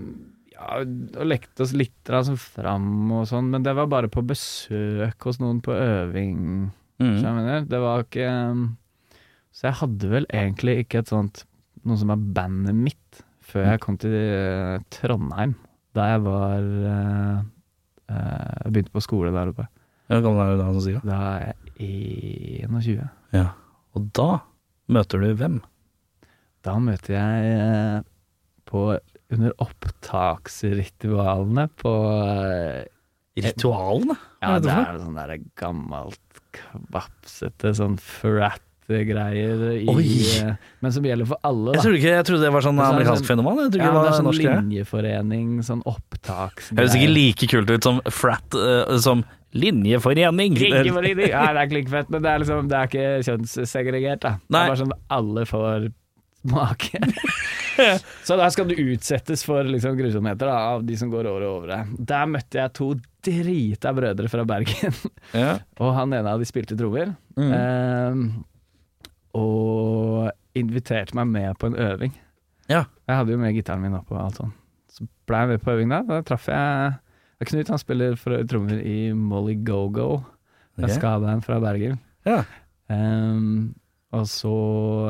Speaker 4: ja, og lekte oss litt da, sånn fram og sånn, men det var bare på besøk hos noen på øving.
Speaker 3: Mm.
Speaker 4: Så jeg mener, det var ikke um, Så jeg hadde vel egentlig ikke et sånt noe som var bandet mitt,
Speaker 3: Mm.
Speaker 4: før jeg kom til eh, Trondheim, da jeg var eh, eh, Jeg begynte på skole der oppe.
Speaker 3: Hvor gammel er du da? Som sier,
Speaker 4: Da er jeg 21.
Speaker 3: ja. Og da møter du hvem?
Speaker 4: Da møter jeg eh, på under opptaksritualene på eh,
Speaker 3: Ritualene?
Speaker 4: Ja,
Speaker 3: Hva er det
Speaker 4: det
Speaker 3: for?
Speaker 4: er sånn der gammelt, kvapsete sånn frat-greier i
Speaker 3: Oi!
Speaker 4: eh, Men som gjelder for alle,
Speaker 3: Jeg
Speaker 4: da.
Speaker 3: trodde, ikke, jeg trodde det var sånn
Speaker 4: Det er sånn-
Speaker 3: amerikansk fenomen. Jeg trodde
Speaker 4: Ja,
Speaker 3: ikke
Speaker 4: det
Speaker 3: det
Speaker 4: er
Speaker 3: var
Speaker 4: sånn
Speaker 3: norsk greie.
Speaker 4: linjeforening, sånn opptaksgreier.
Speaker 3: Høres ikke like kult ut som frat eh, som linjeforening.
Speaker 4: Linjeforening! Ja, det er ikke like fett, men det er liksom Det er ikke kjønnssegregert, da. Det
Speaker 3: Nei.
Speaker 4: er bare sånn alle får smake. Så der skal du utsettes for liksom, grusomheter da, av de som går over og over deg. Der møtte jeg to drita brødre fra Bergen.
Speaker 3: Ja.
Speaker 4: Og han ene av de spilte trommer.
Speaker 3: Mm.
Speaker 4: Eh, og inviterte meg med på en øving.
Speaker 3: Ja.
Speaker 4: Jeg hadde jo med gitaren min opp og alt sånn. Så ble jeg med på øving da. Da traff jeg ja, Knut, han spiller for- trommer i Molly Go-Go.
Speaker 3: Ok.
Speaker 4: Det er ska-band fra Bergen.
Speaker 3: Ja.
Speaker 4: Eh, og så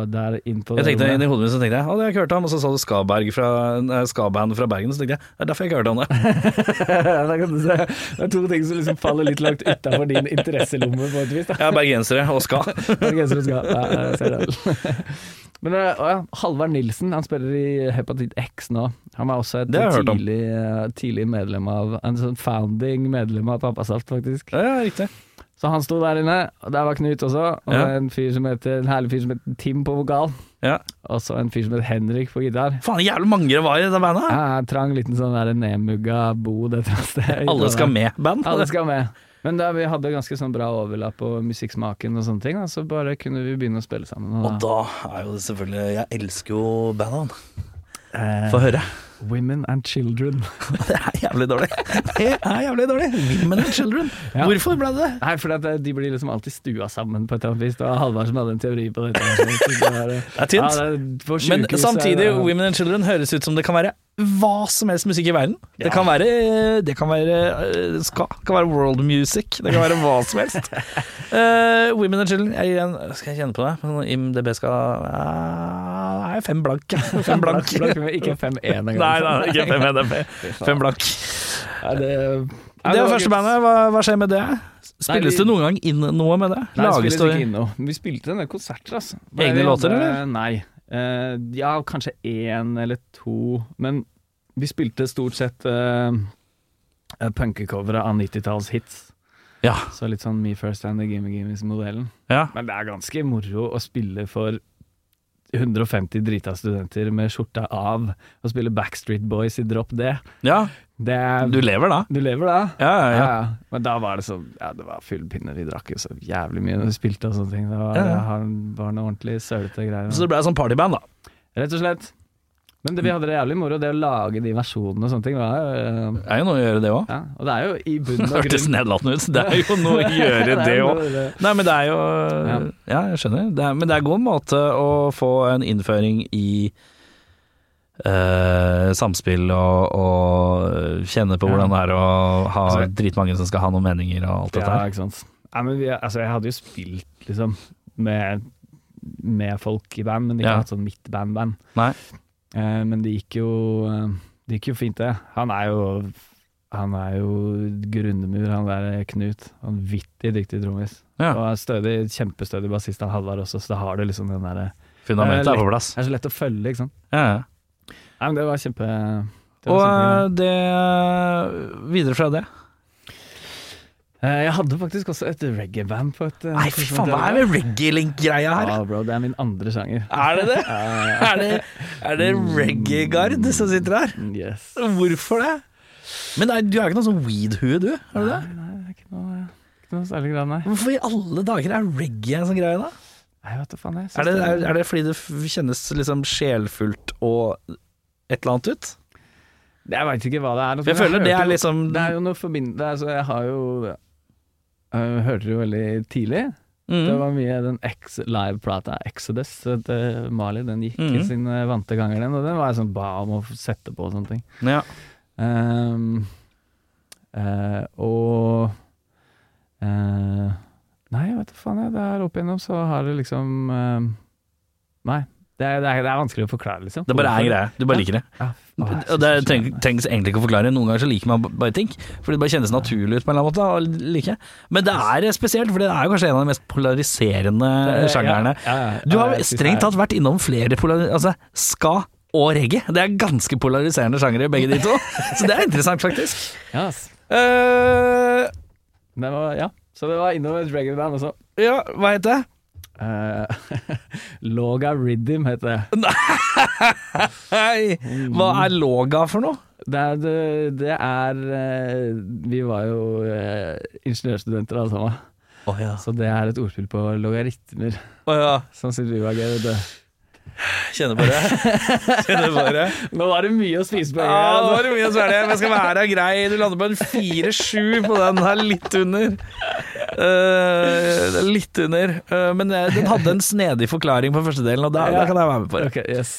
Speaker 4: der inn på
Speaker 3: Jeg
Speaker 4: det
Speaker 3: tenkte,
Speaker 4: rommet-
Speaker 3: Inni hodet mitt så tenkte jeg at jeg har ikke hørt ham, og så sa du Skaberg fra, nei, Skaband fra Bergen, så tenkte jeg det er derfor jeg ikke hørte ham det.
Speaker 4: Da kan du se. Det er to ting som liksom faller litt langt utafor din interesselomme, på et vis. da
Speaker 3: Jeg er bergensere og ska.
Speaker 4: Bergenser og skal. Ja, jeg ser det. Men eh, å ja, Halvard Nilsen, han spiller i Hepatitt X nå. Han var også et
Speaker 3: Det har jeg hørt om.
Speaker 4: tidlig, eh, tidlig medlem av En sånn founding medlem av Pappasaft, faktisk.
Speaker 3: Ja, ja, riktig.
Speaker 4: Så han sto der inne, og der var Knut også. Og
Speaker 3: Ja.
Speaker 4: en, fyr som heter, en herlig fyr som heter Tim på vokal.
Speaker 3: Ja.
Speaker 4: Og så en fyr som heter Henrik på gitar.
Speaker 3: Faen, jævlig mange det var i det bandet. her.
Speaker 4: Ja, en trang liten sånn der nedmugga bod et eller annet sted.
Speaker 3: Alle skal med-band.
Speaker 4: Alle skal med. Men da vi hadde ganske sånn bra overlapp på musikksmaken og sånne ting, da, så bare kunne vi begynne å spille sammen.
Speaker 3: Og da er jo det selvfølgelig Jeg elsker jo bandet.
Speaker 4: Eh,
Speaker 3: Få høre.
Speaker 4: Women and Children.
Speaker 3: Det er jævlig dårlig. Det er jævlig dårlig. Women and children.
Speaker 4: Ja.
Speaker 3: Hvorfor ble det det?
Speaker 4: Nei, for at eh, de blir liksom alltid stua sammen på et eller annet vis. Det var Halvard som hadde en teori på dette. her, så Det var, eh,
Speaker 3: Det er tynt.
Speaker 4: Ja, det er- på
Speaker 3: Men
Speaker 4: sykehus er
Speaker 3: samtidig,
Speaker 4: det-
Speaker 3: Women and Children høres ut som det kan være hva som helst musikk i verden. Det kan være, det kan være eh, ska, det kan være world music, det kan være hva som helst. Eh, women and Children, jeg gir en, skal jeg kjenne på det? Men IMDb skal eh, Nei, fem blank. Fem blank.
Speaker 4: Blank, men Ikke 5-1
Speaker 3: Nei,
Speaker 4: engang.
Speaker 3: nei, ikke fem NDP. Fem blank.
Speaker 4: Ja, det,
Speaker 3: Det var første bandet. Hva, hva skjer med det? Spilles
Speaker 4: vi-
Speaker 3: det noen gang inn noe med det?
Speaker 4: Nei, spilles
Speaker 3: det
Speaker 4: ikke inn nå. Vi spilte en del konserter, altså.
Speaker 3: Egne
Speaker 4: Vi
Speaker 3: låter,
Speaker 4: hadde-
Speaker 3: eller?
Speaker 4: Nei. Eh, ja, kanskje én eller to. Men vi spilte stort sett uh, punkecovere av 90-tallshits.
Speaker 3: Ja.
Speaker 4: Så litt sånn Me First and The Gimme Gimmes-modellen.
Speaker 3: Ja.
Speaker 4: Men det er ganske moro å spille for 150 drita studenter med skjorta av, og spille Backstreet Boys i Drop D.
Speaker 3: ja.
Speaker 4: Det er,
Speaker 3: Du lever da?
Speaker 4: du lever da?
Speaker 3: Ja, ja, ja.
Speaker 4: Men da var det så Ja, det var full pinne. Vi drakk jo så jævlig mye når vi spilte og sånne ting. Det var,
Speaker 3: Ja, ja.
Speaker 4: han- var noe ordentlig sølete greier.
Speaker 3: Så det ble sånn partyband, da.
Speaker 4: Rett og slett. Men det, vi hadde det jævlig moro, det å lage de versjonene og sånne ting. Var, jo, eh,
Speaker 3: Det er jo noe å gjøre, det òg.
Speaker 4: ja. Og det er jo i bunn og
Speaker 3: Hørtes
Speaker 4: grunn
Speaker 3: nedlatende ut. Det er jo noe å gjøre, det
Speaker 4: er
Speaker 3: òg.
Speaker 4: noe i det.
Speaker 3: Nei, men det er jo
Speaker 4: Ja.
Speaker 3: Ja, jeg skjønner. Det er, men det er god måte å få en innføring i eh, samspill og, og kjenne på
Speaker 4: Ja.
Speaker 3: hvordan det er å ha
Speaker 4: Altså-
Speaker 3: dritmange som skal ha noen meninger og alt dette
Speaker 4: Ja,
Speaker 3: her.
Speaker 4: ikke sant. Nei, men vi, altså, jeg hadde jo spilt liksom med, med folk i band, men ikke
Speaker 3: Ja.
Speaker 4: hatt sånn mitt band-band.
Speaker 3: Nei.
Speaker 4: Eh, men det gikk jo eh, Det gikk jo fint, det. Han er jo Han er jo grunnmur, han der Knut. Vanvittig dyktig trommis.
Speaker 3: Ja.
Speaker 4: Og er stødig, kjempestødig bassist, han Halvard også, så da har du liksom den derre
Speaker 3: Fundamentet
Speaker 4: Eh,
Speaker 3: er på plass.
Speaker 4: Det er så lett å følge, ikke sant.
Speaker 3: Ja, ja.
Speaker 4: Nei, men det var kjempe det var
Speaker 3: Og
Speaker 4: kjempegøy.
Speaker 3: eh, det Videre fra det
Speaker 4: Eh, Jeg hadde faktisk også et reggae-band på et eh,
Speaker 3: Nei, fy faen,
Speaker 4: tidspunkt
Speaker 3: hva er
Speaker 4: der.
Speaker 3: det reggae-link-greia her? Ah.
Speaker 4: Ja, bro, det er min andre sjanger.
Speaker 3: Er det det?
Speaker 4: Eh,
Speaker 3: Er det, er det reggae-gard som sitter der?
Speaker 4: Yes.
Speaker 3: Hvorfor det? Men nei, du er ikke noe sånn weed-hue, du? Er du det?
Speaker 4: Nei, det er ikke noe, ikke noe særlig grad, nei.
Speaker 3: Hvorfor i alle dager er reggae en sånn greie, da?
Speaker 4: Nei, vet du faen, jeg synes
Speaker 3: Er det,
Speaker 4: det-
Speaker 3: er, er det fordi det f- kjennes liksom sjelfullt og et eller annet ut?
Speaker 4: Jeg veit ikke hva det er. altså,
Speaker 3: Jeg føler
Speaker 4: hørte
Speaker 3: det er
Speaker 4: jo-
Speaker 3: liksom
Speaker 4: Det er jo noe forbind... det er så- Jeg har jo øh, Hørte det jo veldig tidlig. Det
Speaker 3: mm,
Speaker 4: var mye den ex live-plata Exodus til Mali. Den gikk i
Speaker 3: Mhm.
Speaker 4: sine vante ganger, den. Og den var jeg sånn ba om å sette på og sånne ting.
Speaker 3: ja.
Speaker 4: Ehm, eh, og eh, Nei, jeg vet da faen. Jeg, der opp igjennom så har det liksom ehm, Nei. Det er, det, er, det er vanskelig å forklare, liksom.
Speaker 3: Det bare er en greie. Du bare liker det.
Speaker 4: Ja. Å, jeg
Speaker 3: Og det
Speaker 4: synes det er
Speaker 3: treng,
Speaker 4: så
Speaker 3: trengs egentlig ikke å forklare. Noen ganger så liker man b- bare ting fordi det bare kjennes naturlig ut på en eller annen måte. Å like. Men det er spesielt, for det er jo kanskje en av de mest polariserende
Speaker 4: skjønende.
Speaker 3: eh, sjangerne.
Speaker 4: Ja, ja, ja.
Speaker 3: Du har
Speaker 4: Ja, jeg synes
Speaker 3: strengt
Speaker 4: det er-
Speaker 3: tatt vært innom flere polari... Altså ska og reggae. Det er ganske polariserende sjangere, begge de to. Så det er interessant, faktisk.
Speaker 4: Ja, ass.
Speaker 3: eh
Speaker 4: det var, ja. Så det var innom et reggae-band også.
Speaker 3: ja, hva heter det?
Speaker 4: Eh, Loga Rhythm heter det.
Speaker 3: Hei! Hva er loga for noe?
Speaker 4: Det er, det, det er eh, Vi var jo eh, ingeniørstudenter alle sammen.
Speaker 3: Å ja.
Speaker 4: Så det er et ordspill på logaritmer, sånn som du var gøy. vet du.
Speaker 3: Kjenner på det. Kjenner på det.
Speaker 4: Nå var det mye å spise på. en
Speaker 3: Ja, nå
Speaker 4: gang, altså.
Speaker 3: er det mye å svelge. Men skal være grei. Du lander på en 4-7 på den her, litt under. Eh, det er litt under. Eh, men eh, den hadde en snedig forklaring på første delen, og da, da kan jeg være med på det.
Speaker 4: Ok, yes.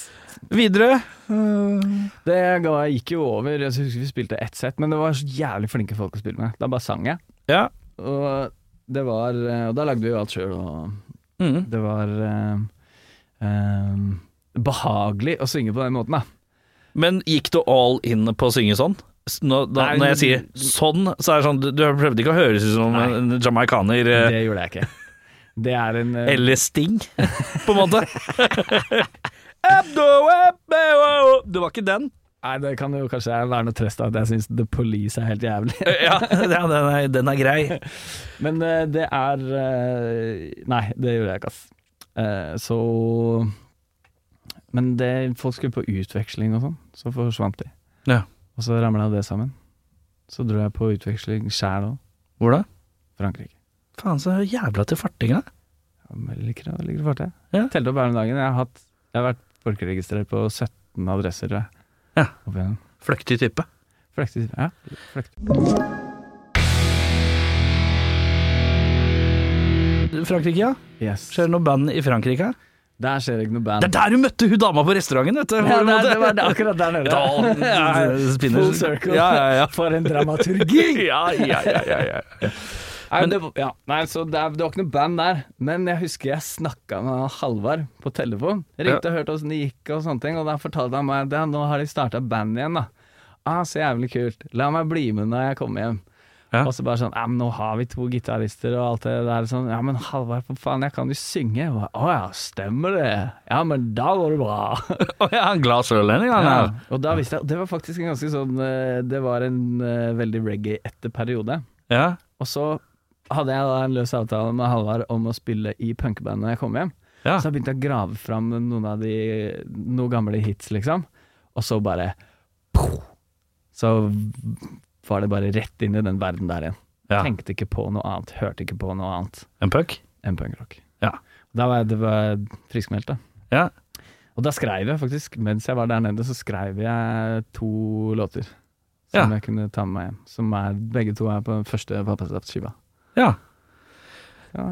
Speaker 3: Videre. Mm.
Speaker 4: Det ga, gikk jo over. Jeg husker vi spilte ett sett, men det var så jævlig flinke folk å spille med. Da bare sang jeg.
Speaker 3: Ja.
Speaker 4: Og, det var, eh, og da lagde vi jo alt sjøl, og
Speaker 3: Mm.
Speaker 4: det var eh, eh, behagelig å synge på den måten, da.
Speaker 3: Men gikk du all in på å synge sånn? S- Nå, da,
Speaker 4: Nei,
Speaker 3: når jeg sier sånn, så er det sånn Du, du prøvde ikke å høres ut som en en jamaikaner eh,
Speaker 4: Det gjorde jeg ikke. Det er en eh,
Speaker 3: eller Sting, på en måte. Abdo, abdo. Det var ikke den.
Speaker 4: Nei, det kan jo kanskje være noe trøst at jeg syns The Police er helt jævlig.
Speaker 3: Ja, den er, den er grei.
Speaker 4: Men eh, det er eh, Nei, det gjorde jeg ikke, ass. Eh, så Men det, folk skulle på utveksling og sånn, så forsvant de.
Speaker 3: Ja.
Speaker 4: Og så ramla det sammen. Så dro jeg på utveksling sjæl òg.
Speaker 3: Hvor da?
Speaker 4: Frankrike.
Speaker 3: Faen, så jævla til fartinga.
Speaker 4: Ja, men Jeg liker det, jeg liker det fartøy.
Speaker 3: Ja.
Speaker 4: Telte opp her om dagen. Jeg har, hatt, jeg har vært folkeregistrert på 17 adresser, tror jeg.
Speaker 3: Ja.
Speaker 4: Opp igjennom.
Speaker 3: Fløktig type.
Speaker 4: Flektig, ja. Flektig.
Speaker 3: Frankrike, ja.
Speaker 4: Yes.
Speaker 3: Skjer det noe band i Frankrike?
Speaker 4: Der skjer det ikke noe band.
Speaker 3: Det er der du møtte hun dama på restauranten, vet du.
Speaker 4: Ja, det, er- det var akkurat der nede.
Speaker 3: Da-
Speaker 4: Ja,
Speaker 3: spinner.
Speaker 4: Full circle.
Speaker 3: Ja, ja, ja.
Speaker 4: For en dramaturgi!
Speaker 3: Ja, ja, ja, ja, ja.
Speaker 4: Nei, men, det, ja. Nei, så det, er- det var ikke noe band der. Men jeg husker jeg snakka med Halvard på telefon. Jeg Ringte og hørte åssen det gikk og sånne ting, og da fortalte han meg at nå har de starta band igjen, da. Ah, så jævlig kult. La meg bli med når jeg kommer hjem.
Speaker 3: Ja.
Speaker 4: Og så bare sånn Ja, men nå har vi to gitarister og alt det der sånn. Ja, men Halvard, for faen, jeg kan jo synge. Jeg bare, Å ja, stemmer det. Ja, men da går det bra.
Speaker 3: Å, ja, han glad sørlending, han
Speaker 4: Ja.
Speaker 3: her.
Speaker 4: Og da visste jeg Det var faktisk en ganske sånn eh, Det var en eh, veldig reggae-ette periode.
Speaker 3: Ja.
Speaker 4: Og så hadde jeg da en løs avtale med Halvard om å spille i punkeband når jeg kom hjem.
Speaker 3: Ja.
Speaker 4: Så jeg begynte jeg å grave fram noen av de noen gamle hits, liksom. Og så bare så var det bare rett inn i den verden der igjen.
Speaker 3: Ja.
Speaker 4: Tenkte ikke på noe annet, hørte ikke på noe annet
Speaker 3: En punk?
Speaker 4: enn punkrock.
Speaker 3: Ja.
Speaker 4: Da var jeg, det var friskmeldt, da.
Speaker 3: Ja.
Speaker 4: Og da skrev jeg faktisk, mens jeg var der nede, så skrev jeg to låter som
Speaker 3: Ja.
Speaker 4: jeg kunne ta med meg hjem. Som er, begge to er på den første pappasaftskiva.
Speaker 3: Ja.
Speaker 4: Ja.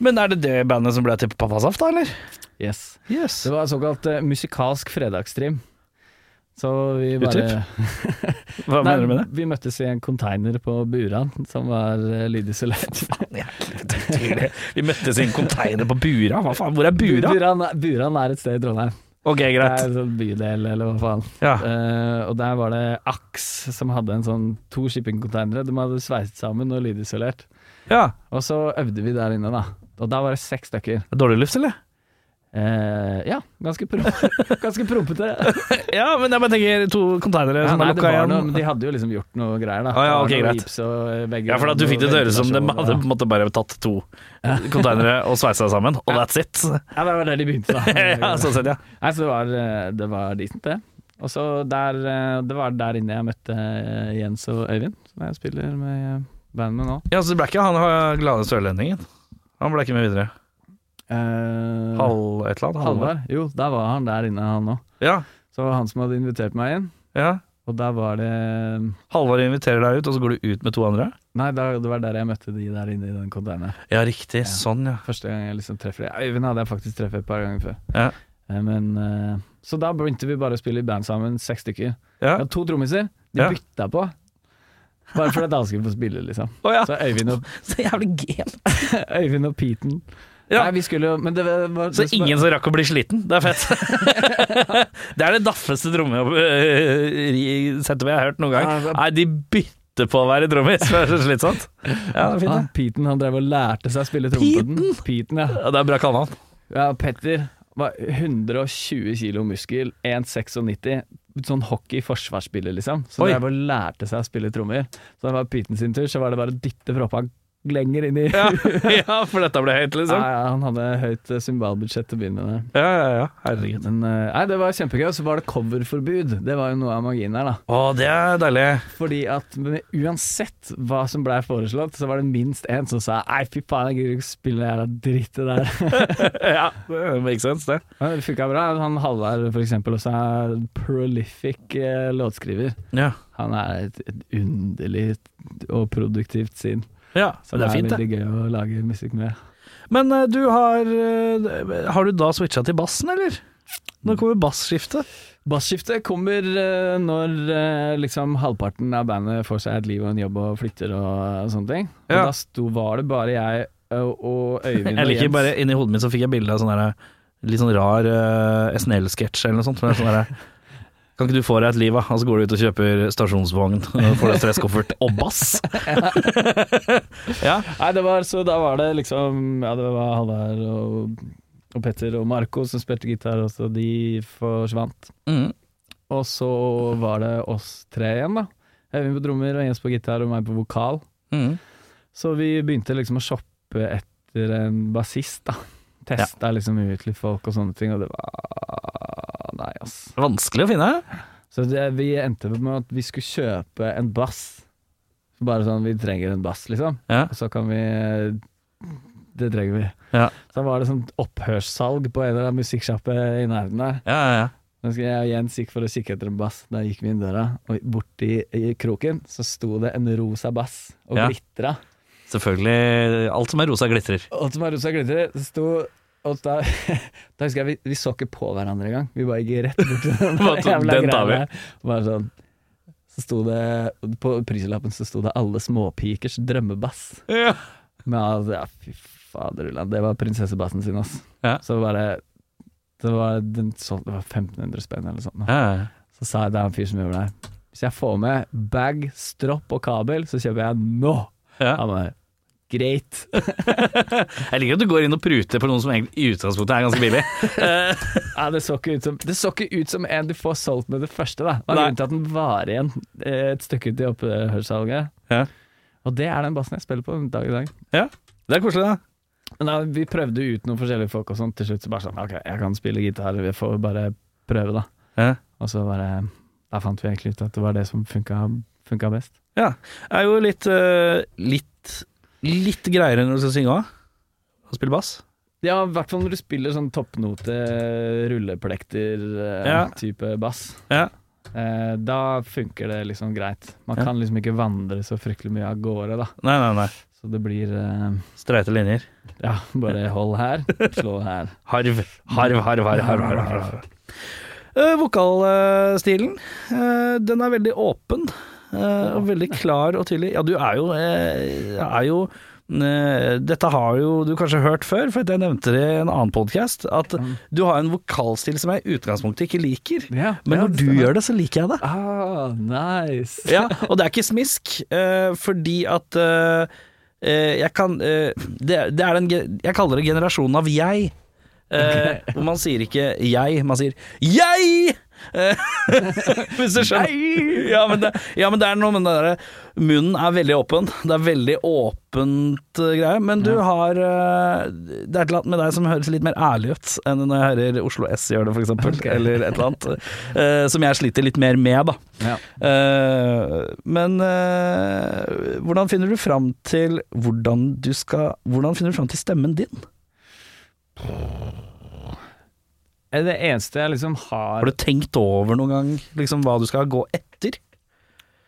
Speaker 3: Men er det det bandet som ble til Pappasaft, da, eller?
Speaker 4: Yes.
Speaker 3: Yes.
Speaker 4: Det var såkalt eh, musikalsk fredagsstream. Så vi bare
Speaker 3: Utdyp. Hva mener du med det?
Speaker 4: Vi møttes i en container på Buran, som var eh, lydisolert.
Speaker 3: Tydelig. Vi møttes i en container på Bura. Hva faen, hvor er Bura?
Speaker 4: Buran, er- Buran er et sted i Trondheim.
Speaker 3: Ok,
Speaker 4: Det
Speaker 3: greit.
Speaker 4: er en sånn bydel, eller hva faen.
Speaker 3: Ja.
Speaker 4: Eh, og der var det Ax som hadde en sånn to shippingcontainere. De hadde sveiset sammen og lydisolert.
Speaker 3: ja.
Speaker 4: Og så øvde vi der inne, da. Og da var det seks stykker.
Speaker 3: Dårlig luft, eller?
Speaker 4: Eh, ja, ganske, pro ganske prompete.
Speaker 3: Ja, men jeg bare tenker to containere
Speaker 4: Ja,
Speaker 3: som
Speaker 4: nei,
Speaker 3: er
Speaker 4: det
Speaker 3: lukka
Speaker 4: var noe,
Speaker 3: igjen.
Speaker 4: men de hadde jo liksom gjort noe greier, da.
Speaker 3: Ah, ja,
Speaker 4: Det
Speaker 3: ok,
Speaker 4: var noe
Speaker 3: greit.
Speaker 4: gips og eh, vegger
Speaker 3: Ja, for da du
Speaker 4: og
Speaker 3: fikk det til å høres ut som de
Speaker 4: ventilasjon,
Speaker 3: hadde på en måte bare tatt to containere og sveisa sammen, og that's it.
Speaker 4: Ja, Ja, det var der de begynte, da.
Speaker 3: Ja, sånn sett, ja.
Speaker 4: Nei, så det var, eh, det var decent, det. Og så der, eh, det var der inne jeg møtte eh, Jens og Øyvind, som jeg spiller med eh, band med nå.
Speaker 3: Ja, så det ble ikke han eh, glade sørlendingen. Han ble ikke med videre.
Speaker 4: Eh,
Speaker 3: Halv et eller annet? Halvard?
Speaker 4: Halvard? Jo, der var han der inne, han òg.
Speaker 3: Ja,
Speaker 4: Så det var han som hadde invitert meg inn,
Speaker 3: ja.
Speaker 4: og der var det eh,
Speaker 3: Halvard inviterer deg ut, og så går du ut med to andre?
Speaker 4: Nei, da- det var der jeg møtte de der inne i den containeren.
Speaker 3: Ja, riktig. Sånn, ja.
Speaker 4: Første gang jeg liksom treffer dem. Øyvind hadde jeg faktisk treffet et par ganger før.
Speaker 3: Ja.
Speaker 4: Eh, Men, eh, så da begynte vi bare å spille i band sammen, seks stykker.
Speaker 3: Ja.
Speaker 4: Vi hadde to trommiser, de
Speaker 3: Ja.
Speaker 4: bytta på. Bare fordi alle skulle få spille, liksom.
Speaker 3: Å ja,
Speaker 4: Så Øyvind og,
Speaker 3: så jævlig gen.
Speaker 4: Øyvind og Peten
Speaker 3: Ja.
Speaker 4: Nei, vi skulle jo Men det var
Speaker 3: Så ingen som rakk å bli sliten. Det er fett. det er det daffeste trommesettet jeg har hørt noen gang. Nei, de bytter på å være trommis, for det er så slitsomt. Ja, det er
Speaker 4: ah,
Speaker 3: fint, det.
Speaker 4: Peten han drev og lærte seg å spille tromme på den. Peten, ja.
Speaker 3: Ja, det er bra kallenavn.
Speaker 4: ja. Petter var 120 kilo muskel, 1,96. Sånn hockey-forsvarsspiller, liksom. Så
Speaker 3: Oi.
Speaker 4: drev og lærte seg å spille trommer. Så da det var Peten sin tur, så var det bare å dytte proppa lenger inn i
Speaker 3: Ja, ja, for dette ble høyt,
Speaker 4: Ja,
Speaker 3: liksom.
Speaker 4: ja, han hadde høyt eh, symbalbudsjett til å begynne med.
Speaker 3: Ja, ja, ja. Herregud.
Speaker 4: Men, eh, nei, det var kjempegøy. Og så var det coverforbud. Det var jo noe av magien her, da.
Speaker 3: Å, det er deilig.
Speaker 4: Fordi at men uansett hva som blei foreslått, så var det minst én som sa Nei, fy faen, jeg gidder ikke spille det jævla drittet der.
Speaker 3: Ja, det makes sense, det.
Speaker 4: Men det funka bra. Han Halvard for eksempel også er en prolific eh, låtskriver.
Speaker 3: Ja.
Speaker 4: Han er et, et underlig og produktivt sinn.
Speaker 3: ja
Speaker 4: Så
Speaker 3: det er fint, det.
Speaker 4: veldig gøy å lage musikk med.
Speaker 3: Men eh, du har eh, Har du da switcha til bassen, eller? Nå kommer bassskiftet.
Speaker 4: Bassskiftet kommer eh, når eh, liksom halvparten av bandet får seg et liv og en jobb og flytter og, sånne ting. Og
Speaker 3: Ja.
Speaker 4: da sto, var det bare jeg eh, og Øyvind
Speaker 3: Jeg
Speaker 4: og
Speaker 3: liker
Speaker 4: Jens.
Speaker 3: bare Inni hodet mitt så fikk jeg bilde av sånn der litt sånn rar eh, SNL-sketsj eller noe sånt. Med sånn der, kan ikke du få deg et liv, da? Og så går du ut og kjøper stasjonsvogn og får deg stresskoffert og bass. ja.
Speaker 4: Nei, det var, så da var det liksom Ja, det var Halvard og, og Petter og Marco som spilte gitar, og så de forsvant.
Speaker 3: Mm.
Speaker 4: Og så var det oss tre igjen, da. Øyvind på trommer og Jens på gitar og meg på vokal.
Speaker 3: Mm.
Speaker 4: Så vi begynte liksom å shoppe etter en bassist, da. Testa liksom ut litt folk og sånne ting, og det var Nei, ass.
Speaker 3: Vanskelig å finne.
Speaker 4: Så det, vi endte opp med at vi skulle kjøpe en bass. Bare sånn, vi trenger en bass, liksom.
Speaker 3: Ja.
Speaker 4: Og så kan vi Det trenger vi.
Speaker 3: Ja.
Speaker 4: Så var det sånt opphørssalg på en eller annen musikksjappe i nærheten der.
Speaker 3: Ja, ja, ja.
Speaker 4: Da skal jeg og Jens gikk for å kikke etter en bass. Da gikk vi inn døra, og borti i kroken så sto det en rosa bass og
Speaker 3: Ja.
Speaker 4: glitra.
Speaker 3: Selvfølgelig. Alt som er rosa, glitrer.
Speaker 4: Og som er rosa glitrer, så sto og da, da husker jeg vi, vi så ikke på hverandre engang. Vi bare gikk rett bort til den
Speaker 3: Bare sånn,
Speaker 4: jævla
Speaker 3: den tar
Speaker 4: greia
Speaker 3: vi.
Speaker 4: der. Og Bare sånn Så sto det På prislappen så sto det 'Alle småpikers drømmebass'.
Speaker 3: Ja.
Speaker 4: Men altså, ja, fy faderullan, det var prinsessebassen sin, ass.
Speaker 3: Ja.
Speaker 4: Så bare det var, den, så, det var 1500 spenn eller noe sånt. da.
Speaker 3: Ja, ja.
Speaker 4: Så sa jeg det er en fyr som gjør det her. Hvis jeg får med bag, stropp og kabel, så kjøper jeg nå!
Speaker 3: Ja.
Speaker 4: Han bare Greit.
Speaker 3: Jeg liker at du går inn og pruter på noen som egentlig i utgangspunktet er ganske billig.
Speaker 4: Ja, det, så ikke ut som, det så ikke ut som en du får solgt med det første. Da. Det var
Speaker 3: Nei.
Speaker 4: grunnen til at den var igjen eh, et stykke ut i opphørssalget.
Speaker 3: Ja.
Speaker 4: Og det er den bassen jeg spiller på den dag i dag.
Speaker 3: Det er koselig, da.
Speaker 4: Men da, vi prøvde ut noen forskjellige folk, og sånn til slutt så bare sånn Ok, jeg kan spille gitar, vi får bare prøve, da.
Speaker 3: Ja.
Speaker 4: Og så bare Da fant vi egentlig ut at det var det som funka, funka best.
Speaker 3: Ja. Er jo litt eh, litt litt greiere når du skal synge òg. Og spille bass.
Speaker 4: Ja, i hvert fall når du spiller sånn toppnote,
Speaker 3: Ja.
Speaker 4: rulleplekter-type bass.
Speaker 3: Ja.
Speaker 4: Eh, da funker det liksom greit. Man
Speaker 3: Ja.
Speaker 4: kan liksom ikke vandre så fryktelig mye av gårde, da.
Speaker 3: Nei, nei, nei.
Speaker 4: Så det blir eh,
Speaker 3: Streite linjer.
Speaker 4: Ja, bare hold her, slå her.
Speaker 3: Harv, harv, harv, harv. harv, harv, harv. Eh, vokalstilen, eh, den er veldig åpen eh, og veldig klar og tydelig. Ja, du er jo, eh, er jo eh, Dette har jo du kanskje hørt før, for jeg nevnte det i en annen podkast, at du har en vokalstil som jeg i utgangspunktet ikke liker.
Speaker 4: Ja,
Speaker 3: Men
Speaker 4: ja,
Speaker 3: når
Speaker 4: det
Speaker 3: du
Speaker 4: stemmer.
Speaker 3: gjør det, så liker jeg det.
Speaker 4: Ah, nice.
Speaker 3: Ja, og det er ikke smisk, eh, fordi at eh, eh, jeg kan eh, det, det er den, ge- Jeg kaller det generasjonen av jeg. Eh, Hvor man sier ikke 'jeg', man sier 'jeg'! Eh, Hvis du skjønner? Ja men, det, ja, men det er noe med den derre Munnen er veldig åpen. Det er veldig åpent eh, greie. Men du har eh, Det er et eller annet med deg som høres litt mer ærlig ut enn når jeg hører Oslo S gjøre det, for eksempel. Eller et eller annet. eh, som jeg sliter litt mer med, da.
Speaker 4: Ja.
Speaker 3: Eh, men eh, hvordan finner du fram til hvordan du skal Hvordan finner du fram til stemmen din?
Speaker 4: Eh, Det eneste jeg liksom
Speaker 3: Har
Speaker 4: har
Speaker 3: du tenkt over noen gang liksom, hva du skal gå etter?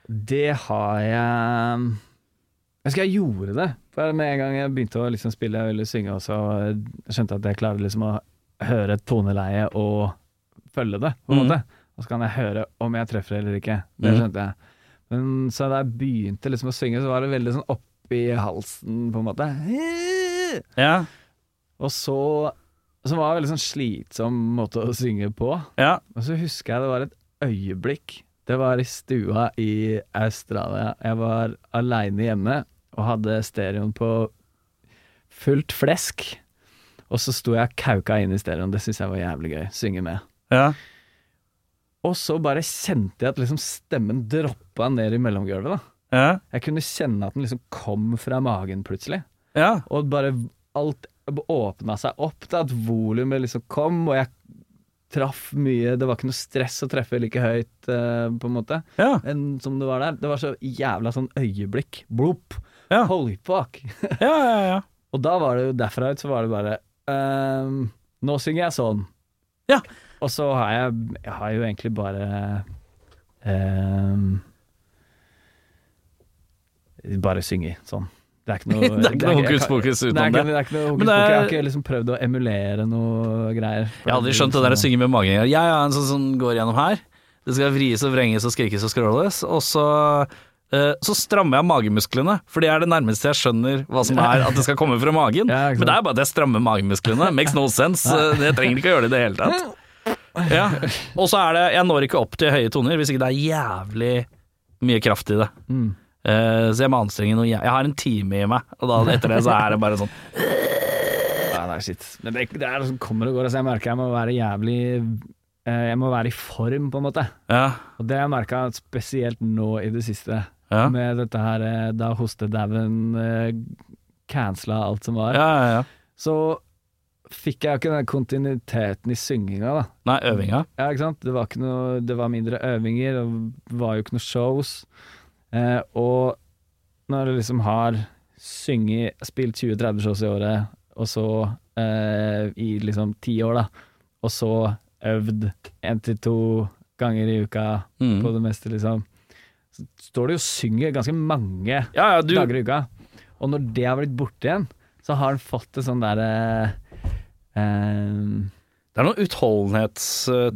Speaker 4: Det har jeg eh, Jeg husker jeg gjorde det. For med en gang jeg begynte å liksom spille og ville synge også, jeg skjønte at jeg klarer liksom å høre et toneleie og følge det, på en
Speaker 3: Mm.
Speaker 4: måte. Og så kan jeg høre om jeg treffer eller ikke. Det
Speaker 3: Mm.
Speaker 4: skjønte jeg. Men så da jeg begynte liksom å synge, så var det veldig sånn oppi halsen, på en måte.
Speaker 3: Ja,
Speaker 4: Og så Som var en veldig sånn slitsom måte å synge på.
Speaker 3: ja.
Speaker 4: Og så husker jeg det var et øyeblikk. Det var i stua i Australia. Jeg var aleine hjemme og hadde stereoen på fullt flesk. Og så sto jeg og kauka inn i stereoen. Det syns jeg var jævlig gøy. Synge med.
Speaker 3: ja.
Speaker 4: Og så bare kjente jeg at liksom stemmen droppa ned i mellomgulvet. da.
Speaker 3: Ja,
Speaker 4: Jeg kunne kjenne at den liksom kom fra magen plutselig.
Speaker 3: ja,
Speaker 4: Og bare alt åpna seg opp til at volumet liksom kom, og jeg traff mye. Det var ikke noe stress å treffe like høyt, eh, på en måte,
Speaker 3: ja,
Speaker 4: enn som det var der. Det var så jævla sånn øyeblikk. Blopp.
Speaker 3: Ja.
Speaker 4: Holy fuck.
Speaker 3: ja, ja, ja.
Speaker 4: og da var det jo derfra ut, så var det bare ehm, Nå synger jeg sånn.
Speaker 3: Ja.
Speaker 4: Og så har jeg, jeg har jo egentlig bare ehm, Bare synger sånn. Det er ikke noe,
Speaker 3: Det er ikke noe
Speaker 4: jeg
Speaker 3: hokus
Speaker 4: kan-
Speaker 3: pokus
Speaker 4: Nei,
Speaker 3: utenom
Speaker 4: ikke-
Speaker 3: det.
Speaker 4: er ikke noe hokus
Speaker 3: Men det
Speaker 4: pokus. Jeg
Speaker 3: er-
Speaker 4: har ikke liksom prøvd å emulere noe greier.
Speaker 3: Jeg har aldri skjønt det der å synge med magen. Jeg er en sånn som går gjennom her. Det skal vris og vrenges og skrikes og skråles. Og så, eh, så strammer jeg magemusklene, for det er det nærmeste jeg skjønner hva som er at det skal komme fra magen.
Speaker 4: Ja, ikke sant.
Speaker 3: Men det er bare at jeg strammer magemusklene. Makes no sense. Eh, Jeg trenger ikke å gjøre det i det hele tatt. Ja. Og så er det Jeg når ikke opp til høye toner hvis ikke det er jævlig mye kraft i det.
Speaker 4: Mm.
Speaker 3: Eh, så jeg må anstrenge noe jæ- Jeg har en time i meg, og da, etter det så er det bare sånn
Speaker 4: Ja, nei, shit. Men det, det er det som kommer og går. Altså, jeg merker jeg må være jævlig eh, Jeg må være i form, på en måte.
Speaker 3: Ja.
Speaker 4: Og det har jeg merka spesielt nå i det siste.
Speaker 3: Ja, ja,
Speaker 4: Med dette her eh, da hostedauen eh, cancela alt som var.
Speaker 3: ja. ja.
Speaker 4: Så fikk jeg jo ikke den kontinuiteten i synginga, da.
Speaker 3: Nei, øvinga.
Speaker 4: Ja, ikke sant? Det var, ikke noe, det var mindre øvinger, det var jo ikke noe shows. Eh, og når du liksom har synget, spilt 20-30 shows i året, og så eh, i liksom ti år, da, og så øvd én til to ganger i uka
Speaker 3: Mm.
Speaker 4: på det meste, liksom, så står du jo og synger ganske mange
Speaker 3: Ja, ja, du,
Speaker 4: dager i uka. Og når det har blitt borte igjen, så har han fått et sånn derre eh, eh,
Speaker 3: Det er noe utholdenhetstrening